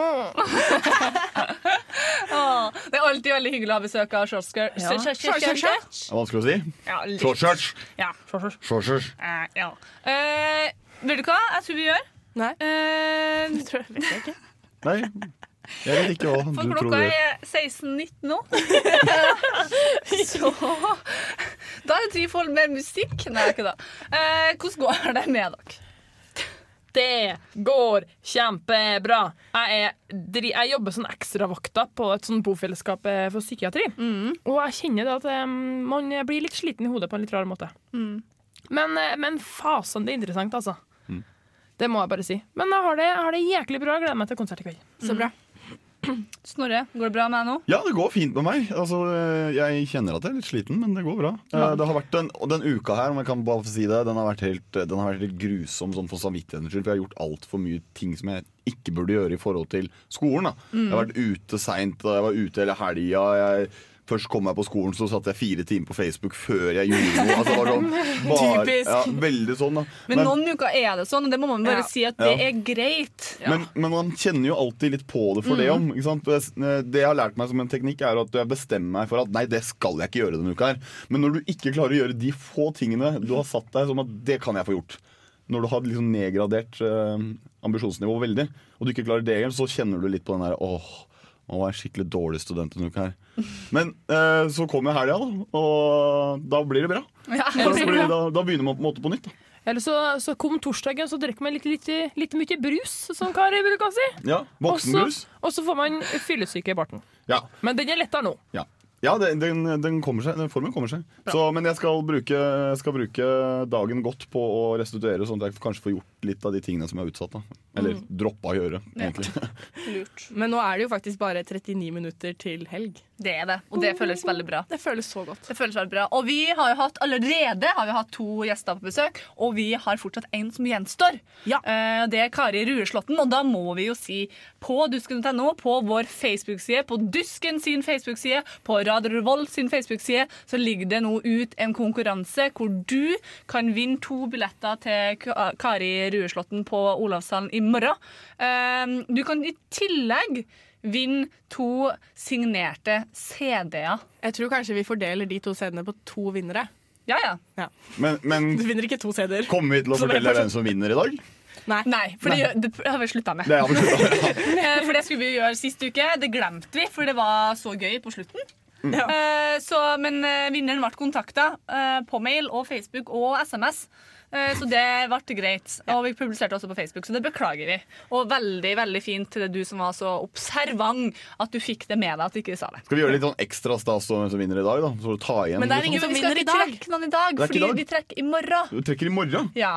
Speaker 3: Å, det er alltid veldig hyggelig å ha besøk av shortskirts.
Speaker 5: Ja.
Speaker 3: Shortskirts.
Speaker 4: Det er vanskelig å si.
Speaker 3: Ja, litt.
Speaker 4: Short skirts.
Speaker 3: Ja.
Speaker 4: Short skirts.
Speaker 3: Eh, ja. Eh, vet du hva jeg tror vi gjør? Eh,
Speaker 6: Nei.
Speaker 3: det tror jeg ikke.
Speaker 4: Nei, jeg vet ikke hva
Speaker 3: For
Speaker 4: du tror.
Speaker 3: klokka
Speaker 4: det.
Speaker 3: er 16.19 nå. <laughs> Så Da er det tid for mer musikk. Nei, ikke da. Eh, hvordan går det med dere?
Speaker 5: Det går kjempebra. Jeg, er, dri- jeg jobber som ekstravakta på et sånt bofellesskap eh, for psykiatri. Og jeg kjenner det at eh, man blir litt sliten i hodet på en litt rar måte. Men, eh, men fasen, det er interessant, altså.
Speaker 4: Mm.
Speaker 5: Det må jeg bare si. Men jeg har det, jeg har det jæklig bra. Jeg gleder meg til konsert i kveld.
Speaker 6: Så bra.
Speaker 3: Snorre, går det bra med deg nå?
Speaker 4: Ja, det går fint med meg. Altså, eh, jeg kjenner at jeg er litt sliten, men det går bra. Eh,
Speaker 3: Ja.
Speaker 4: Det har vært en, og den uka her, om jeg kan bare få si det, den har vært helt, eh, den har vært helt grusom sånn for samvittighetens skyld. For jeg har gjort altfor mye ting som jeg ikke burde gjøre i forhold til skolen. Da.
Speaker 8: Mm.
Speaker 4: Jeg har vært ute seint, jeg var ute hele helga. Jeg, først kom jeg på skolen, så satt jeg fire timer på Facebook før jeg gjorde noe. Altså, det var sånn, bare,
Speaker 3: Typisk.
Speaker 4: Ja, veldig sånn, da.
Speaker 3: Men noen uker er det sånn, og det må man
Speaker 4: Ja.
Speaker 3: bare si at det
Speaker 4: Ja.
Speaker 3: er greit.
Speaker 4: Men, men man kjenner jo alltid litt på det for det om.
Speaker 3: Mm.
Speaker 4: Ikke sant? Det jeg har lært meg som en teknikk, er at jeg bestemmer meg for at nei, det skal jeg ikke gjøre denne uka her. Men når du ikke klarer å gjøre de få tingene du har satt deg som at det kan jeg få gjort, når du har liksom nedgradert eh, ambisjonsnivået veldig, og du ikke klarer det igjen, så kjenner du litt på den der åh, nå var jeg skikkelig dårlig student denne uka her. Men eh, så kommer helga, da, og da blir det bra.
Speaker 5: Ja.
Speaker 4: Da, blir, da, da begynner man på en måte på nytt. Da.
Speaker 5: Eller så, så kom torsdagen, så drikker man litt, litt, litt mye brus, som Kari bruker å si.
Speaker 4: Ja, Voksenbrus.
Speaker 5: Og så- Og så får man fyllesyke i barten.
Speaker 4: Ja.
Speaker 5: Men den er lettere nå.
Speaker 4: Ja, ja den, den, den kommer seg, den formen kommer seg. Så, men jeg skal bruke, skal bruke dagen godt på å restituere, sånn at jeg kanskje får gjort litt av de tingene som er utsatt. Da. Eller
Speaker 6: Mm.
Speaker 4: droppa å gjøre,
Speaker 6: Ja.
Speaker 4: egentlig.
Speaker 6: Lurt. Men nå er det jo faktisk bare 39 minutter til helg.
Speaker 3: Det er det, og det føles veldig bra.
Speaker 6: Det føles så godt.
Speaker 3: Det føles veldig bra. Og vi har jo hatt allerede har vi hatt to gjester på besøk, og vi har fortsatt én som gjenstår. Eh, Det er Kari Rueslåtten, og da må vi jo si på dusken.no, på vår Facebook-side, på Dusken sin Facebook-side, på Radio Revolt sin Facebook-side, så ligger det nå ut en konkurranse hvor du kan vinne to billetter til Ka- Kari Rueslåtten på Olavshallen i morgen. Eh, Du kan i tillegg vinne to signerte CD-er.
Speaker 6: Jeg tror kanskje vi fordeler de to CD-ene på to vinnere.
Speaker 3: Ja, ja.
Speaker 4: Men,
Speaker 6: Du
Speaker 4: men
Speaker 6: vinner ikke to CD-er.
Speaker 4: kommer vi til å
Speaker 6: Som en
Speaker 4: fortelle
Speaker 6: person.
Speaker 4: hvem som vinner i dag?
Speaker 6: Nei.
Speaker 3: for
Speaker 4: Nei.
Speaker 3: Det, det har vi slutta med.
Speaker 4: Det har vi sluttet <laughs> med.
Speaker 3: Eh, for det skulle vi jo gjøre sist uke. Det glemte vi, for det var så gøy på slutten.
Speaker 4: Mm. Ja.
Speaker 3: Eh, så, men eh, vinneren ble kontakta eh, på mail og Facebook og SMS. Eh, så det ble greit. Og vi publiserte også på Facebook, så det beklager vi. Og veldig veldig fint til det du som var så observant at du fikk det med deg at du ikke sa det.
Speaker 4: Skal vi gjøre litt sånn ekstra stas om hvem som vinner i dag? da? Så ta igjen litt sånn.
Speaker 3: Jo, vi skal ikke trekke noen i dag,
Speaker 4: Det er ikke
Speaker 3: fordi
Speaker 4: i dag.
Speaker 3: vi trekker i morgen.
Speaker 4: Du trekker i morgen?
Speaker 3: Ja.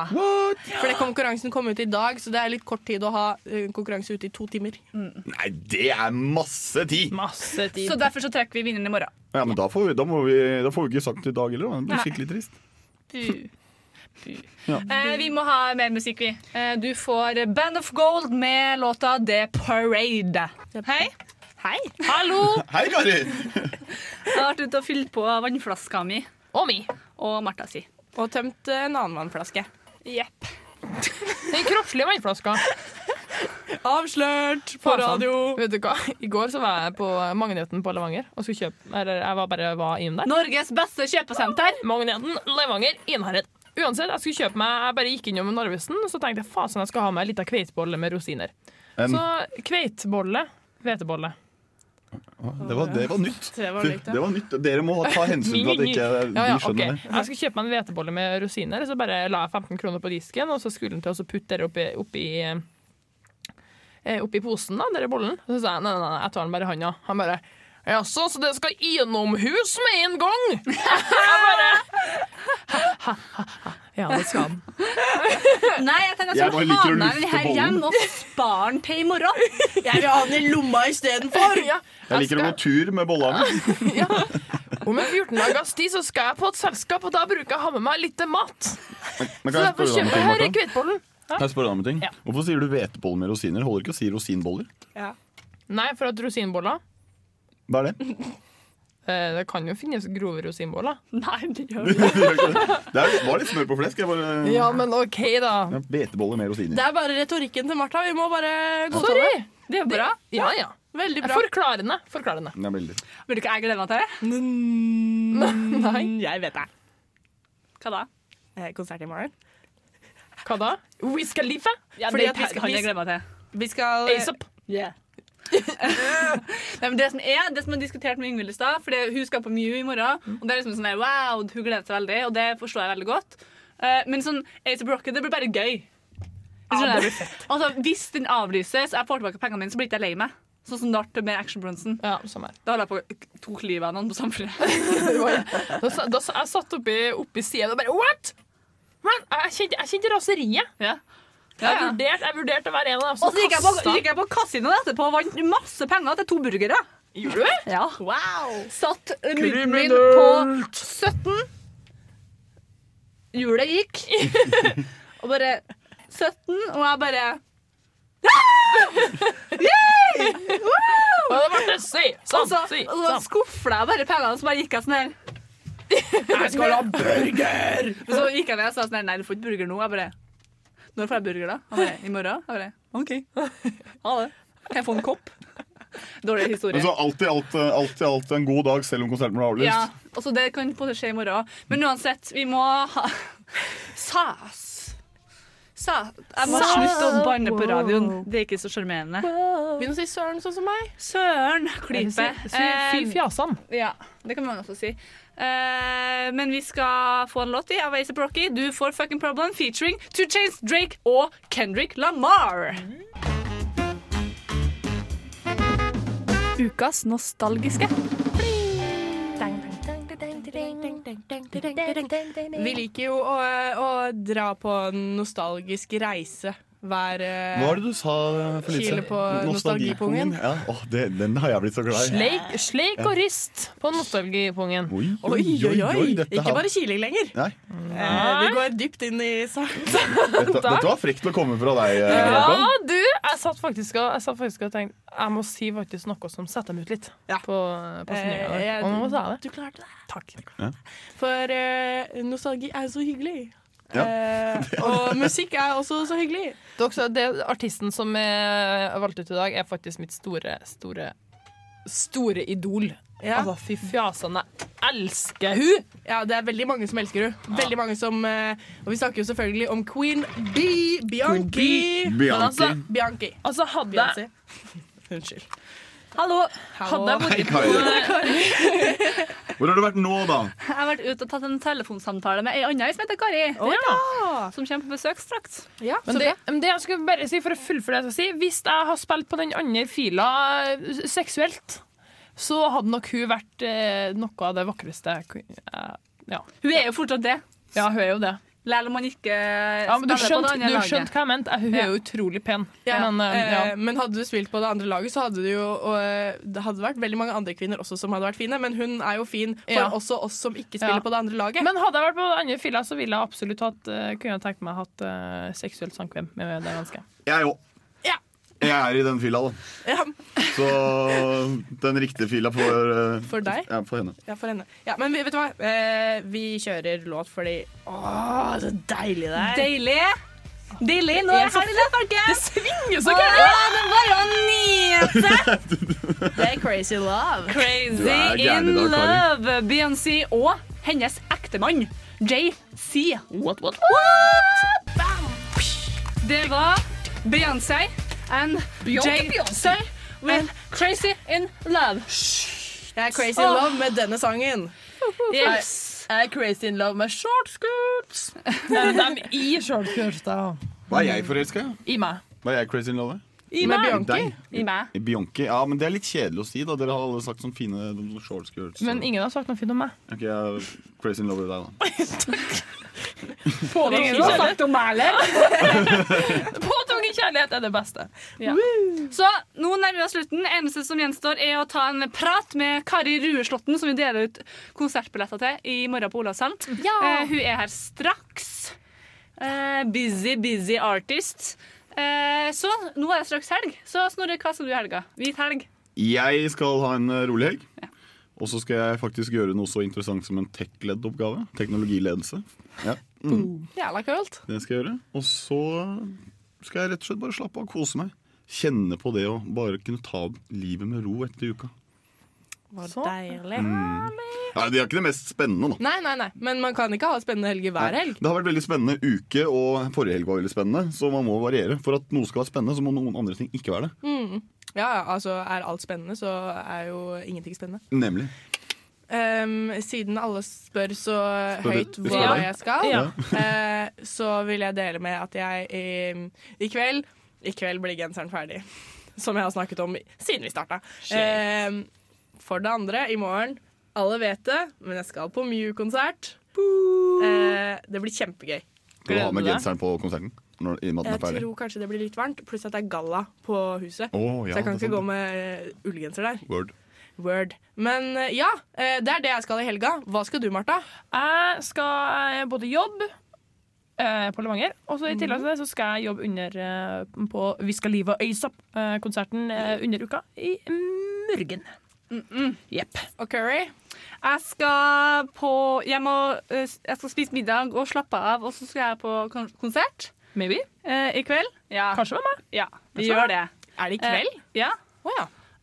Speaker 6: Fordi konkurransen kom ut i dag, så det er litt kort tid å ha eh, konkurranse ute i to timer.
Speaker 4: Nei, det er masse tid!
Speaker 3: Så derfor så trekker vi vinneren i morgen.
Speaker 4: Ja, men da får, vi, da, må vi, da får vi ikke sagt i dag heller. Da. Det blir
Speaker 3: Nei.
Speaker 4: skikkelig trist.
Speaker 3: Bu.
Speaker 4: Ja.
Speaker 3: Eh, vi må ha mer musikk, vi. Eh, du får Band of Gold med låta The Parade. Hei. Hei. Hallo.
Speaker 4: Hei, Kari!
Speaker 3: Jeg har vært ute og fylt på vannflaska mi. Og mi. Og Martha si.
Speaker 6: Og tømt eh, en annen vannflaske.
Speaker 3: Jepp.
Speaker 5: Den kroppslige vannflaska.
Speaker 6: Avslørt på radio.
Speaker 5: Altså. Vet du hva? I går så var jeg på Magneten på Levanger og skulle kjøpe Eller jeg var bare var innom der.
Speaker 3: Norges beste kjøpesenter.
Speaker 5: Magneten Levanger Innherred. Uansett, jeg skulle kjøpe meg Jeg bare gikk innom Narvesen, og så tenkte jeg fasen, jeg skal ha meg ei lita kveitebolle med rosiner.
Speaker 4: En-
Speaker 5: Så kveitebolle Hvetebolle.
Speaker 4: Å, Det var, det var nytt.
Speaker 5: Det var likt, ja.
Speaker 4: det var nytt. Dere må ta hensyn til at ikke
Speaker 5: Ja, ja,
Speaker 4: de skjønner
Speaker 5: ok. Jeg skulle kjøpe meg en hvetebolle med rosiner, så bare la jeg 15 kroner på disken, og så skulle den til å så putte det oppi, oppi eh, Oppi posen, da, denne bollen. Så sa jeg nei, nei, nei, jeg tar den bare i handa. Han bare Jaså, så det skal innomhus med en gang? <laughs> Jeg bare <laughs> Ja, det skal den.
Speaker 3: Nei, jeg tenker at
Speaker 5: Jeg
Speaker 3: jeg
Speaker 5: bare liker å lufte
Speaker 3: skal ha med den her
Speaker 5: bollen.
Speaker 3: hjem og spare den til i morgen.
Speaker 6: <laughs> Jeg vil ha den i lomma istedenfor!
Speaker 3: <laughs>
Speaker 5: Ja,
Speaker 4: det. Jeg liker å gå tur med bollene.
Speaker 5: Om en 14 dagers tid så skal jeg på et selskap, og da bruker jeg å ha med meg litt mat.
Speaker 4: Men
Speaker 5: Så
Speaker 4: kan jeg
Speaker 5: derfor
Speaker 4: spørre deg om
Speaker 5: kjøper
Speaker 4: ting,
Speaker 5: jeg her i
Speaker 4: Martha?
Speaker 5: kveitebollen. Hæ?
Speaker 4: Kan jeg spørre deg om en ting?
Speaker 5: Ja.
Speaker 4: Hvorfor sier du hveteboller med rosiner? Holder ikke å si rosinboller?
Speaker 5: Nei, for at rosinboller
Speaker 4: Hva er <laughs> det?
Speaker 5: eh, Det kan jo finnes grove rosinboller.
Speaker 3: Nei, det gjør
Speaker 4: Det er, var litt smør på flesk. Jeg bare
Speaker 5: Ja, men OK, da.
Speaker 4: Ja, Hveteboller med
Speaker 6: Det
Speaker 4: rosiner.
Speaker 6: er bare retorikken til Martha. Vi må bare godta
Speaker 5: Sorry.
Speaker 6: det.
Speaker 3: Det er bra.
Speaker 5: Ja, ja.
Speaker 6: Veldig
Speaker 5: bra. Forklarende. Forklarende.
Speaker 4: Det er veldig.
Speaker 3: Vil du ikke jeg glede meg til det? Mm.
Speaker 6: Nei, jeg vet det.
Speaker 3: Hva da?
Speaker 6: Eh, Konsert i morgen.
Speaker 5: Hva da? We skal live?
Speaker 3: Ja,
Speaker 6: Fordi
Speaker 3: det
Speaker 6: at vi skal-
Speaker 3: kan jeg
Speaker 6: vi-
Speaker 3: glede meg til.
Speaker 6: Vi skal
Speaker 5: ASAP.
Speaker 3: Nei, men det som er, det som jeg diskuterte med Ingvild i stad, for det- hun skal på Mew i morgen,
Speaker 5: Mm.
Speaker 3: og det er liksom sånn der, wow, hun gleder seg veldig, og det forstår jeg veldig godt. Eh, men sånn Ace of Rocket, det blir bare gøy.
Speaker 5: Ja,
Speaker 3: Hvis, du skjønner.
Speaker 5: det blir
Speaker 3: altså, hvis den avlyses, jeg får tilbake pengene mine, så blir ikke jeg lei meg. Sånn som det ble med Action Bronson.
Speaker 5: Ja, samme her.
Speaker 3: Da holdt jeg på å tok livet av noen på samfunnet.
Speaker 5: Da, sa- da, sa- jeg satt oppi, oppi siden og bare What?! Men jeg kjente, jeg kjente raseriet. Jeg
Speaker 3: <laughs>
Speaker 5: vurderte vurdert å være en av dem
Speaker 3: Og
Speaker 5: som
Speaker 3: så gikk jeg på,
Speaker 5: kastet.
Speaker 3: gikk jeg på kasinoen etterpå og vant masse penger til to burgere.
Speaker 5: Gjorde du?
Speaker 3: Ja. Satt eh, muten min på
Speaker 5: Kriminelt!
Speaker 3: 17. Hjulet <laughs> gikk. og bare 17, og jeg bare
Speaker 5: Og det ble det si, sånn,
Speaker 3: og så,
Speaker 5: si,
Speaker 3: altså, og så
Speaker 5: sånn.
Speaker 3: skuffla jeg bare pengene, så bare gikk jeg sånn her.
Speaker 5: Jeg skal ha burger!
Speaker 3: Men <laughs> så gikk jeg ned og sa sånn her, nei, du får ikke burger nå. Jeg bare Når får jeg burger, da? Han bare I morgen? Jeg bare OK. Ha det. Kan jeg få en kopp? Dårlig historie.
Speaker 4: Men så alt i alt, eh, alt i alt en god dag, selv om konserten ble avlyst.
Speaker 3: Ja, også det kan på en måte skje i morgen. også. Men uansett, vi må ha Sas. Sa, jeg må
Speaker 5: Sas.
Speaker 3: slutte å banne på radioen. Det er ikke så sjarmerende.
Speaker 5: Begynn å si søren sånn som meg.
Speaker 3: Søren klype.
Speaker 5: Eller si- si-
Speaker 3: Eh,
Speaker 5: fy fjasan.
Speaker 3: Ja, det kan man også si. Eh, men vi skal få en låt i av Ace Brocky. Du får 'Fucking Problem' featuring Two Chains, Drake og Kendrick Lamar. Ukas nostalgiske.
Speaker 6: Vi liker jo å, å dra på en nostalgisk reise hver eh,
Speaker 4: Hva var det du sa eh, for litt
Speaker 6: Kile
Speaker 4: siden?
Speaker 6: på nostalgipungen.
Speaker 4: Ja. Åh, det, den har jeg blitt så glad i.
Speaker 5: Sleik, sleik og rist på nostalgipungen.
Speaker 4: Oi, oi, oi, oi, dette
Speaker 6: Ikke
Speaker 4: her-
Speaker 6: bare kiling lenger.
Speaker 4: Nei.
Speaker 6: Eh, Vi går dypt inn i saken.
Speaker 4: Dette, dette var frekt å komme fra deg, eh,
Speaker 5: Ja,
Speaker 4: Jakob.
Speaker 5: du! Jeg satt faktisk og, jeg satt faktisk og tenkte jeg må si faktisk noe som setter dem ut litt. På, på
Speaker 6: Eh,
Speaker 5: snøa.
Speaker 6: jeg-
Speaker 5: Og nå sa jeg det.
Speaker 6: Du klarte det.
Speaker 4: Ja.
Speaker 6: For eh, nostalgi er så hyggelig.
Speaker 4: Ja. <laughs>
Speaker 6: Eh, og musikk er også så hyggelig.
Speaker 5: Det, er også, det artisten som er valgt ut i dag, er faktisk mitt store, store, store idol. Altså, fy fjasan, jeg elsker hun!
Speaker 6: Ja, det er veldig mange som elsker henne. Veldig mange som eh, Og vi snakker jo selvfølgelig om Queen B. Bianchi.
Speaker 5: Queen Bee. Men altså,
Speaker 6: Bianchi.
Speaker 5: Altså, hadde jeg
Speaker 6: Unnskyld.
Speaker 3: Hallo.
Speaker 6: Hallo.
Speaker 3: Hadde jeg vært
Speaker 4: Hei,
Speaker 3: på Kari.
Speaker 4: Hvor har du vært nå, da?
Speaker 3: Jeg har vært ute og tatt en telefonsamtale med ei anna som heter Kari. Som kommer på besøk straks.
Speaker 5: Men det, men det jeg skulle bare si for å fullføre det jeg skal si Hvis jeg har spilt på den andre fila eh, seksuelt, så hadde nok hun vært eh, noe av det vakreste jeg kunne- eh, ja.
Speaker 3: Hun er jo fortsatt det.
Speaker 5: Ja, hun er jo det.
Speaker 3: Lell om man ikke
Speaker 5: Ja, men du
Speaker 3: spiller
Speaker 5: skjønte,
Speaker 3: på det andre
Speaker 5: du
Speaker 3: laget.
Speaker 5: skjønte hva jeg mente. Hun er jo utrolig pen.
Speaker 6: Ja,
Speaker 5: Men, eh, ja.
Speaker 6: eh, men hadde du spilt på det andre laget, så hadde det jo og, eh, det hadde vært veldig mange andre kvinner også som hadde vært fine, men hun er jo fin for
Speaker 5: Ja.
Speaker 6: også oss som ikke spiller
Speaker 5: Ja.
Speaker 6: på det andre laget.
Speaker 5: Men hadde jeg vært på den andre fila, så ville jeg absolutt hatt, eh, kunne jeg tenkt meg hatt eh, seksuelt samkvem med det mennesket.
Speaker 4: Jeg òg. Jeg er i den fila, da. Så den riktige fila for eh,
Speaker 6: For deg?
Speaker 4: Ja, for henne.
Speaker 6: Ja, for henne. Ja, men vi- vet du hva? Eh, vi kjører låt fordi Åh, så deilig det er!
Speaker 3: Deilig. Deilig. Nå er
Speaker 6: Jeg er så
Speaker 3: helg, da, folkens. Det
Speaker 6: svinger
Speaker 5: så gærent.
Speaker 3: Det var jo en nyhet.
Speaker 6: Det er crazy love.
Speaker 3: Crazy
Speaker 6: Du er gæren
Speaker 3: in
Speaker 6: i dag, Kari.
Speaker 3: love. Beyoncé og hennes ektemann JC.
Speaker 5: What, what,
Speaker 3: what? Bam. Det var Beyoncé and
Speaker 6: Beyoncé,
Speaker 3: JC with Crazy in love.
Speaker 6: Jeg er crazy in love med denne sangen.
Speaker 3: Yes.
Speaker 6: Jeg er crazy in love med shortskirts.
Speaker 5: Men de i shortskirts, da.
Speaker 4: Hva er jeg forelska i?
Speaker 5: I meg.
Speaker 4: Hva er jeg crazy in love med?
Speaker 5: I meg. Med Bianchi?
Speaker 4: Deg.
Speaker 3: I meg.
Speaker 4: I Bianchi. Ja, men det er litt kjedelig å si, da. Dere har alle sagt sånne fine shortskirts.
Speaker 5: Men ingen har sagt noe fint om meg.
Speaker 4: Ok, jeg er crazy in love med deg, da.
Speaker 3: Ingen har sagt om meg, eller?
Speaker 5: Påtvungen kjærlighet er det beste.
Speaker 3: Ja. Så nå nærmer vi oss slutten. Eneste som gjenstår, er å ta en prat med Kari Rueslåtten, som vi deler ut konsertbilletter til i morgen på Olavshallen. Eh, hun er her straks. Eh, busy, busy artist. Eh, så nå er det straks helg. Så Snorre, hva skal du i helga? Hvit helg.
Speaker 4: Jeg skal ha en eh, rolig helg. Og så skal jeg faktisk gjøre noe så interessant som en tech-ledd-oppgave. Teknologiledelse. Ja. Mm.
Speaker 6: Jævla kult.
Speaker 4: Det skal jeg gjøre. Og så skal jeg rett og slett bare slappe av og kose meg. Kjenne på det å bare kunne ta livet med ro etter uka.
Speaker 6: Var deilig.
Speaker 4: Mm. Nei, Det er ikke det mest spennende, da.
Speaker 6: Nei, nei, nei. Men man kan ikke ha spennende helger hver helg.
Speaker 4: Det har vært veldig spennende uke, og forrige helg var veldig spennende. Så man må variere. For at noe skal være spennende, så må noen andre ting ikke være det.
Speaker 6: Mm. Ja, ja, altså er alt spennende, så er jo ingenting spennende.
Speaker 4: Nemlig.
Speaker 6: Ehm, siden alle spør så
Speaker 4: Spør du-
Speaker 6: høyt
Speaker 4: spør
Speaker 6: hva
Speaker 4: deg?
Speaker 6: jeg skal,
Speaker 4: Ja.
Speaker 6: eh, så vil jeg dele med at jeg i, i kveld I kveld blir genseren ferdig. Som jeg har snakket om siden vi starta.
Speaker 5: Shit.
Speaker 6: Ehm, for det andre, i morgen Alle vet det, men jeg skal på Mew-konsert. Eh, det blir kjempegøy.
Speaker 4: Skal du ha med
Speaker 6: Gleder du deg?
Speaker 4: genseren på konserten? Når, I og med at den
Speaker 6: Jeg
Speaker 4: er ferdig?
Speaker 6: tror kanskje det blir litt varmt, pluss at det er galla på huset.
Speaker 4: Å, ja,
Speaker 6: så
Speaker 4: det
Speaker 6: jeg kan
Speaker 4: er
Speaker 6: ikke
Speaker 4: sant.
Speaker 6: gå med eh, ullgenser der.
Speaker 4: Word.
Speaker 6: Word. Men eh, ja, eh, det er det jeg skal i helga. Hva skal du, Marta?
Speaker 5: Jeg skal eh, både jobbe eh, på Levanger, og så i tillegg til det så skal jeg jobbe under eh, på Vi skal live og øyse opp-konserten eh, under uka i Mørgen. Jepp.
Speaker 6: Og curry?
Speaker 3: Jeg skal på jeg, må, eh, jeg skal spise middag og slappe av, og så skal jeg på kon- konsert.
Speaker 5: Maybe.
Speaker 3: Eh, I kveld. Ja.
Speaker 5: Kanskje med meg.
Speaker 3: Ja,
Speaker 5: Kanskje
Speaker 3: vi gjør
Speaker 5: med meg.
Speaker 3: det.
Speaker 5: Ah. Er det i kveld?
Speaker 3: Eh, ja.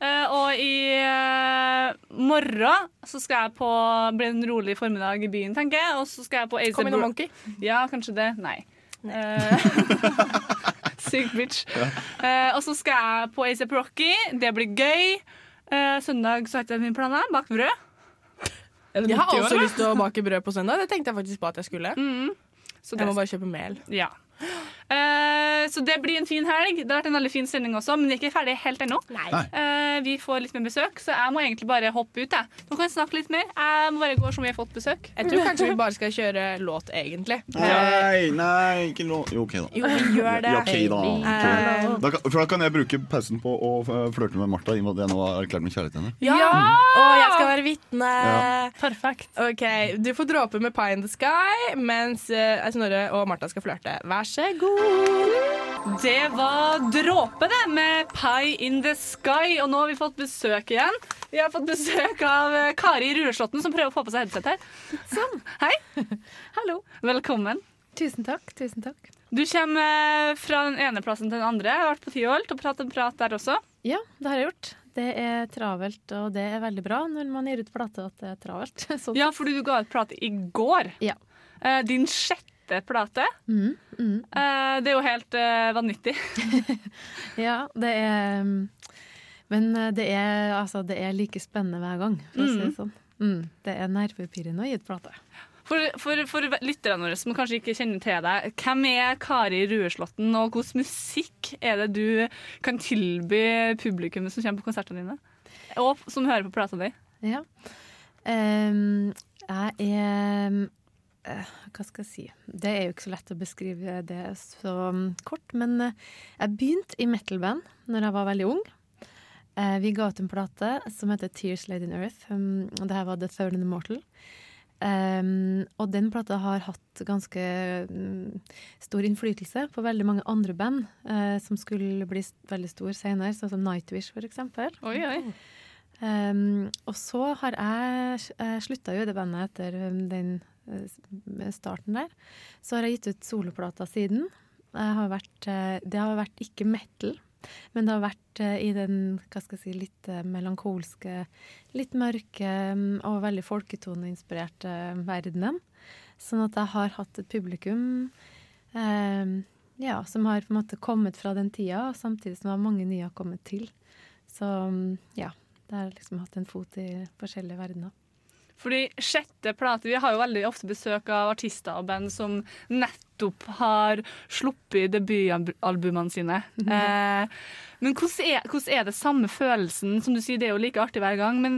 Speaker 3: Eh, og i eh, morgen så skal jeg på blir en rolig formiddag i byen, tenker jeg. Og så skal jeg på ASAP
Speaker 6: Kom inn og
Speaker 3: Ro-
Speaker 6: Monkey.
Speaker 3: Ja, kanskje det. Nei. <laughs> Eh, Syk bitch. Eh, og så skal jeg på ASAP Rocky. Det blir gøy. Eh, søndag så har ikke jeg mine planer. Bak brød.
Speaker 6: Jeg har også lyst til å bake brød på søndag. Det tenkte jeg faktisk på at jeg skulle.
Speaker 3: det-
Speaker 6: Mm. jeg må bare kjøpe mel.
Speaker 3: Ja. Eh, så det blir en fin helg. Det har vært en veldig fin sending også, men vi er ikke ferdig helt ennå. Eh, vi får litt mer besøk, så jeg må egentlig bare hoppe ut. Jeg. Nå kan jeg snakke litt mer. Jeg må bare gå som vi har fått besøk.
Speaker 6: Jeg tror kanskje vi bare skal kjøre låt, egentlig. Eh,
Speaker 4: Nei, nei, ikke lov Jo, OK, da.
Speaker 6: Jo, vi gjør det. Eh,
Speaker 4: Ja, ok, da.
Speaker 6: Vi
Speaker 4: Ok.
Speaker 6: gjør det.
Speaker 4: Da, kan- for da kan jeg bruke pausen på å eh, flørte med Martha, i og med at jeg nå har erklært min kjærlighet til henne.
Speaker 6: Ja! Og jeg skal være vitne.
Speaker 4: Ja.
Speaker 5: Perfekt.
Speaker 6: Ok, Du får dråpe med Pie in the Sky, mens eh, Snorre og Martha skal flørte. Vær så god.
Speaker 3: Det var Dråpe, det, med Pie in the Sky. Og nå har vi fått besøk igjen. Vi har fått besøk av eh, Kari Ruleslåtten, som prøver å få på seg headset her. Sånn. Hei. <laughs> Hallo. Velkommen.
Speaker 7: Tusen takk. tusen takk.
Speaker 3: Du kommer eh, fra den ene plassen til den andre. Jeg har vært på Tyholt og pratet en prat der også.
Speaker 7: Ja, det har jeg gjort. Det er travelt, og det er veldig bra når man gir ut plate at det er travelt. <laughs> Sånn.
Speaker 3: Ja, fordi du ga ut plate i går. Eh, Din sjette plate.
Speaker 7: Mm, mm.
Speaker 3: Eh, Det er jo helt eh, vanvittig. <laughs>
Speaker 7: Ja, det er mm, Men det er, altså, det er like spennende hver gang, for å si det
Speaker 3: Mm.
Speaker 7: sånn. Mm, det er nervepirrende å gi ut plate.
Speaker 3: For, for, for lytterne våre som kanskje ikke kjenner til deg, hvem er Kari Rueslåtten, og hvordan musikk er det du kan tilby publikummet som kommer på konsertene dine? Og som hører på plata di?
Speaker 7: Ja. Ehm, jeg er eh, Hva skal jeg si? Det er jo ikke så lett å beskrive det så mm, kort, men eh, jeg begynte i metal-band når jeg var veldig ung. Eh, vi ga ut en plate som heter 'Tears Laid in Earth'. Um, og det her var The Third and the Mortal. Ehm, og den plata har hatt ganske mm, stor innflytelse på veldig mange andre band eh, som skulle bli s- veldig stor senere, sånn som Nightwish for eksempel.
Speaker 3: Oi, oi.
Speaker 7: Ehm, og så har jeg Jeg slutta jo i det bandet etter um, den eh, s- starten der. Så har jeg gitt ut soloplata siden. Jeg har vært, eh, det har vært ikke metal, men det har vært eh, i den hva skal jeg si, litt eh, melankolske, litt mørke mm, og veldig folketoneinspirerte verdenen. Sånn at jeg har hatt et publikum eh, ja, som har på en måte kommet fra den tida, og samtidig som mange nye har kommet til. Så mm, ja, det har liksom hatt en fot i forskjellige verdener.
Speaker 3: Fordi sjette plate Vi har jo veldig ofte besøk av artister og band som nettopp har sluppet debutalbumene sine. Eh, men hvordan er, hvordan er det samme følelsen? Som du sier, det er jo like artig hver gang, men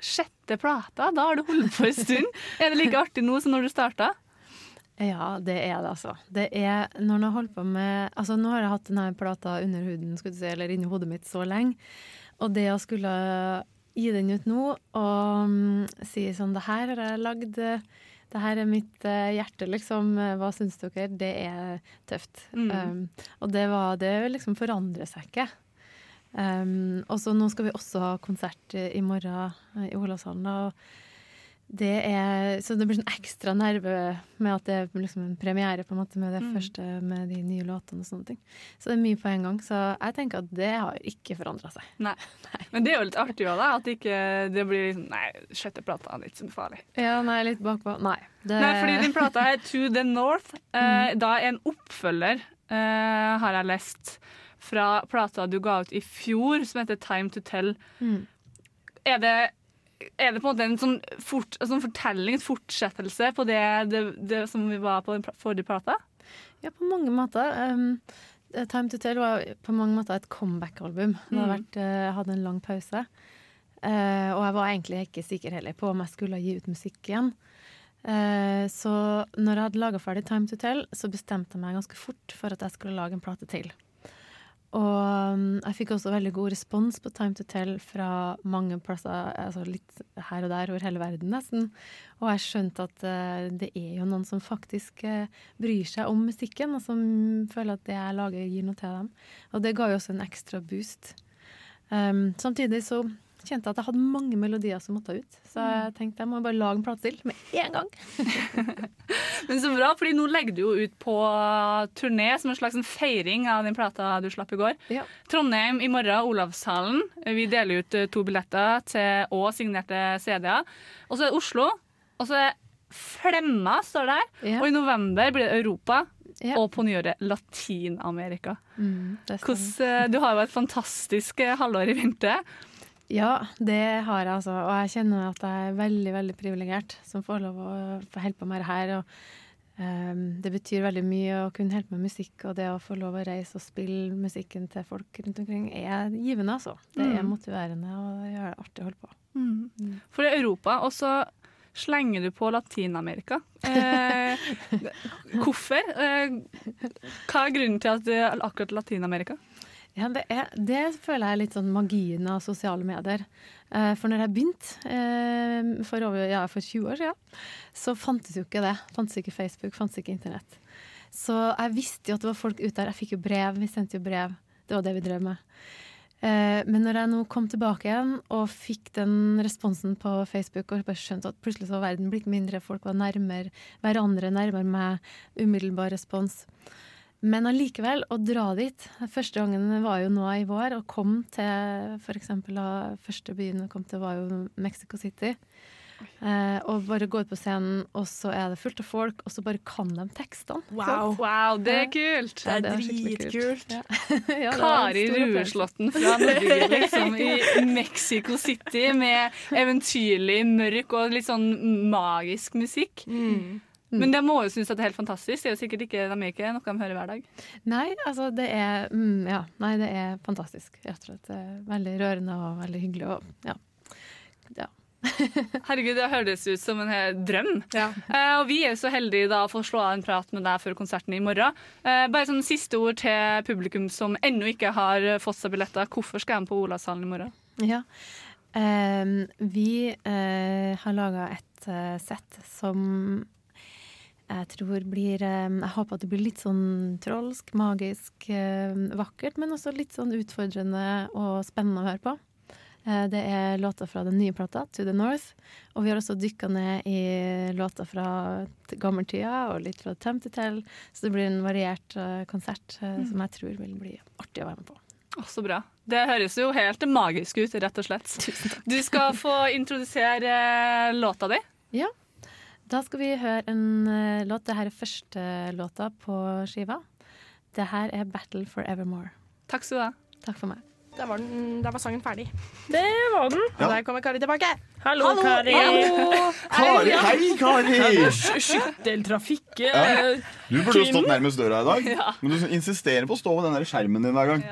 Speaker 3: sjette plata, da har du holdt på en stund. er det like artig nå som når du starta?
Speaker 7: Ja, det er det, altså. Det er når man har holdt på med Altså, nå har jeg hatt denne plata under huden, skulle du si, eller inni hodet mitt så lenge. Og det å skulle gi den ut nå og mm, si sånn Det her har jeg lagd. eh, Det her er mitt eh, hjerte, liksom. eh, Hva syns dere? Det er tøft.
Speaker 3: Mm.
Speaker 7: Um, og det var Det liksom forandrer seg ikke. Um, og så nå skal vi også ha konsert eh, i morgen eh, i Olavshallen. da, og det er, så det blir sånn ekstra nerve med at det er liksom en premiere på en måte med det første med de nye låtene og sånne ting. Så det er mye på en gang. Så jeg tenker at det har ikke forandra seg.
Speaker 3: Nei. Men det er jo litt artig òg, da. At det ikke det blir liksom Nei, sjette plata er ikke så farlig.
Speaker 7: Ja, nei, litt bakpå. Nei. det- Mm.
Speaker 3: Nei, fordi den plata her, To The North, eh, da er en oppfølger, eh, har jeg lest, fra plata du ga ut i fjor, som heter Time To Tell.
Speaker 7: Mm.
Speaker 3: Er det, er det på en måte en sånn, fort, en sånn fortelling, en fortsettelse på det, det, det som vi var på den pla- forrige plata?
Speaker 7: Ja, på mange måter. Um, Time to Tell var på mange måter et comeback-album. Det har
Speaker 3: Mm.
Speaker 7: vært, eh, Jeg hadde en lang pause. Eh, og jeg var egentlig ikke sikker heller på om jeg skulle gi ut musikk igjen. Eh, Så når jeg hadde laga ferdig Time to Tell, så bestemte jeg meg ganske fort for at jeg skulle lage en plate til. Og mm, jeg fikk også veldig god respons på Time to Tell fra mange plasser, altså litt her og der over hele verden nesten. Og jeg skjønte at eh, det er jo noen som faktisk eh, bryr seg om musikken, og som føler at det jeg lager, gir noe til dem. Og det ga jo også en ekstra boost. Um, samtidig så kjente jeg at jeg hadde mange melodier som måtte ut, så jeg tenkte jeg må bare lage en plate til med en gang.
Speaker 3: Men så bra, fordi nå legger du jo ut på turné som en slags sånn feiring av den plata du slapp i går. Trondheim i morgen, Olavshallen. Vi deler ut eh, to billetter til, og signerte CD-er. Og så er det Oslo. Og så er Flemma står der. Og i november blir det Europa. Og på nyåret Latin-Amerika.
Speaker 7: Mm, det stemmer.
Speaker 3: Hvordan, eh, du har jo et fantastisk eh, halvår i vente.
Speaker 7: Ja, det har jeg altså. Og jeg kjenner at jeg er veldig veldig privilegert som får lov å få holde på med det her. Og ehm, det betyr veldig mye å kunne holde på med musikk, og det å få lov å reise og spille musikken til folk rundt omkring er givende, altså. Det er
Speaker 3: Mm.
Speaker 7: motiverende og det gjør det artig å holde på.
Speaker 3: For det er Europa, og så slenger du på Latin-Amerika. Eh,
Speaker 7: <laughs>
Speaker 3: hvorfor? Eh, hva er grunnen til at det er akkurat Latin-Amerika?
Speaker 7: Ja, det, er, det føler jeg er litt sånn magien av sosiale medier. Eh, for når jeg begynte, eh, for, over, ja, for 20 år siden, så fantes jo ikke det. Fantes ikke Facebook, fantes ikke internett. Så jeg visste jo at det var folk ute der. Jeg fikk jo brev, vi sendte jo brev. Det var det vi drev med. Eh, Men når jeg nå kom tilbake igjen og fikk den responsen på Facebook, og bare skjønte at plutselig så var verden blitt mindre, folk var nærmere hverandre, nærmere meg, umiddelbar respons. Men allikevel, å dra dit Første gangen var jo nå i vår, og kom til f.eks. første byen jeg kom til, var jo Mexico City. Eh, og bare gå ut på scenen, og så er det fullt av folk, og så bare kan de tekstene. ikke sant?
Speaker 3: det er
Speaker 7: Ja.
Speaker 3: kult!
Speaker 7: Ja, det er skikkelig kult. <laughs> Ja, det var en
Speaker 3: Kari
Speaker 7: stor opplevelse.
Speaker 3: Rueslåtten fra Norge, liksom,
Speaker 7: <laughs>
Speaker 3: i Mexico City, med eventyrlig mørk og litt sånn magisk musikk.
Speaker 7: Mm.
Speaker 3: Men de må jo synes at det er helt fantastisk. Det er jo sikkert ikke, de er ikke noe de hører hver dag.
Speaker 7: Nei, altså det er mm, Ja, nei, det er fantastisk, rett og slett. Det er Veldig rørende og veldig hyggelig. Og, ja. ja.
Speaker 3: Herregud, det høres ut som en hel drøm. Eh, og vi er jo så heldige da å få slå av en prat med deg før konserten i morgen. Eh, bare sånn siste ord til publikum som ennå ikke har eh, fått seg billetter. Hvorfor skal jeg med på Olavshallen i morgen?
Speaker 7: ja. Ehm, vi eh, har laga et eh, sett som jeg tror blir ehm, Jeg håper at det blir litt sånn trolsk, magisk, ehm, vakkert, men også litt sånn utfordrende og spennende å høre på. Eh, Det er låter fra den nye plata, 'To the North'. Og vi har også dykka ned i låter fra t- gammeltida og litt fra Time to Tell. Så det blir en variert eh, konsert eh,
Speaker 3: Mm.
Speaker 7: som jeg tror vil bli artig å være med på.
Speaker 3: Å, så bra. Det høres jo helt magisk ut, rett og slett. Du skal få introdusere eh, låta di.
Speaker 7: Ja. Da skal vi høre en eh, låt. Dette er første låta på skiva. Det her er 'Battle for Evermore'.
Speaker 3: Takk skal du ha.
Speaker 7: Takk for meg.
Speaker 6: Der var, den, der var sangen ferdig.
Speaker 5: Det var den.
Speaker 6: Og der kommer Kari tilbake.
Speaker 5: Hallo, Kari.
Speaker 4: Kari, hei, Kari!
Speaker 5: Skytteltrafikk. eh,
Speaker 4: Ja. Du burde jo
Speaker 5: Krim.
Speaker 4: stått nærmest døra i
Speaker 6: <laughs>
Speaker 4: dag,
Speaker 5: Ja.
Speaker 4: men du insisterer på å stå ved den der skjermen din hver gang.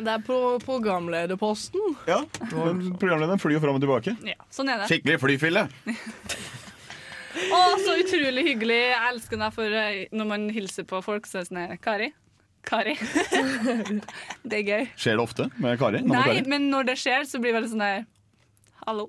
Speaker 6: Det er på programlederposten.
Speaker 4: Ja, men
Speaker 3: sånn.
Speaker 4: Programlederen flyr jo fram og tilbake.
Speaker 3: Ja, sånn er det.
Speaker 4: Skikkelig flyfille.
Speaker 3: Å, så utrolig hyggelig. Jeg elsker deg for eh, når man hilser på folk, så er det sånn her, Kari. Kari. det er gøy.
Speaker 4: Skjer det ofte med Kari? Navnet
Speaker 3: Nei,
Speaker 4: Kari?
Speaker 3: men når det skjer, så blir det veldig sånn der Hallo.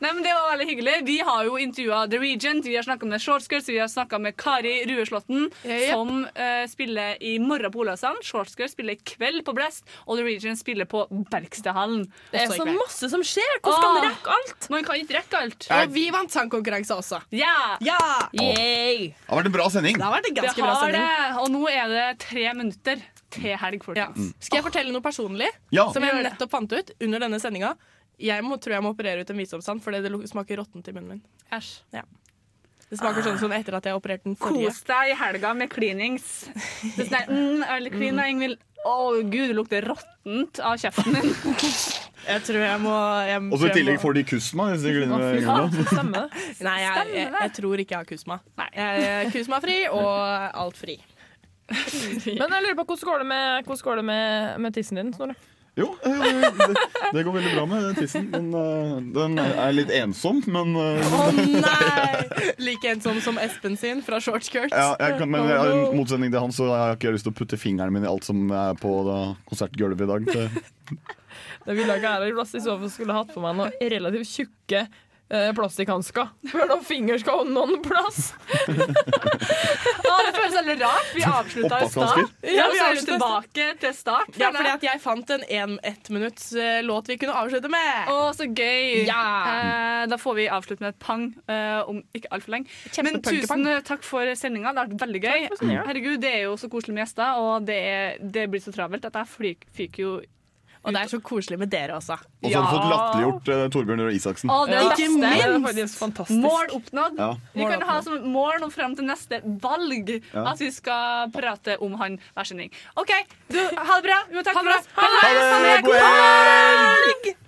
Speaker 3: Nei, men Det var veldig hyggelig. Vi har jo intervjua The Regent, vi har snakka med Shortskirts, vi har snakka med Kari Rueslåtten, som eh, spiller i morgen på Olavshallen. Shortskirts spiller i kveld på Blest, og The Regent spiller på Bergstadhallen.
Speaker 5: Det er
Speaker 3: også i
Speaker 5: så
Speaker 3: kveld.
Speaker 5: masse som skjer. Hvordan skal man
Speaker 3: Åh,
Speaker 5: rekke alt?
Speaker 3: Man kan ikke rekke alt.
Speaker 6: Og vi vant sangkonkurranse også.
Speaker 3: Ja!
Speaker 6: Yay!
Speaker 4: Det har vært en bra sending.
Speaker 6: Det har vært en ganske
Speaker 3: Det
Speaker 6: bra
Speaker 3: har
Speaker 6: sending.
Speaker 3: det, og nå er det tre minutter til helg, folkens.
Speaker 6: Skal jeg fortelle noe personlig
Speaker 4: Mm. Ja.
Speaker 6: som jeg nettopp fant ut under denne sendinga? Jeg må, tror jeg må operere ut en visdomstann fordi det lu- smaker råttent i munnen min. Ja. Det smaker sånn som etter at jeg opererte den forrige.
Speaker 3: Kos deg i helga med cleanings. Det er sånn der, mm, eller clean, da, Ingvild. Å gud, det lukter råttent av kjeften din.
Speaker 6: Jeg tror jeg må jeg,
Speaker 4: Og så i tillegg får de kusma. Hvis de glinner med øynene.
Speaker 5: <laughs>
Speaker 6: Stemmer det? Nei, jeg, jeg, jeg tror ikke jeg har kusma. Jeg er kusmafri og alt fri.
Speaker 5: Men jeg lurer på hvordan går det med, hvordan går det med, med tissen din, Snorre?
Speaker 4: Jo, eh, det, det går veldig bra med den tissen. Den, eh, den er litt ensom, men eh,
Speaker 6: Å nei! <laughs> Like ensom som Espen sin fra shortskirts.
Speaker 4: ja, jeg kan, men jeg, I motsetning til han så har jeg ikke lyst til å putte fingeren min i alt som er på da, konsertgulvet i dag. Det,
Speaker 14: Det ville jeg ikke ære. Lasse i så fall skulle hatt på meg noen relativt tjukke eh, plastikkhansker. Før noen finger skal ha noen plass.
Speaker 3: Å, det føles veldig rart. Vi avslutta i stad.
Speaker 6: Oppvaskvansker?
Speaker 3: Ja, vi er jo tilbake til start.
Speaker 6: Ja, fordi at jeg fant en en- ett minutts eh, låt vi kunne avslutte med.
Speaker 3: Å, så gøy!
Speaker 6: Ja.
Speaker 3: Eh, da får vi avslutte med et pang eh, om ikke altfor lenge. Men
Speaker 6: Kjempepunkepang.
Speaker 3: tusen eh, takk for sendinga. Det har vært veldig gøy.
Speaker 6: sendinga.
Speaker 3: Herregud, Det er jo så koselig med gjester, og det, er, det blir så travelt at jeg flyk- fyker jo
Speaker 6: Og det er så koselig med dere også.
Speaker 4: Og så har du fått latterliggjort eh, Torbjørn Røe Isaksen.
Speaker 3: Å, det er det
Speaker 6: Ikke
Speaker 3: beste.
Speaker 6: minst.
Speaker 3: Det er faktisk fantastisk. Mål oppnådd.
Speaker 4: Ja.
Speaker 3: Vi kan ha som mål nå fram til neste valg
Speaker 4: Ja.
Speaker 3: at vi skal prate om han værskjønning. OK, du, ha det bra. Vi må takke for oss.
Speaker 4: Ha det! God helg!
Speaker 3: God helg!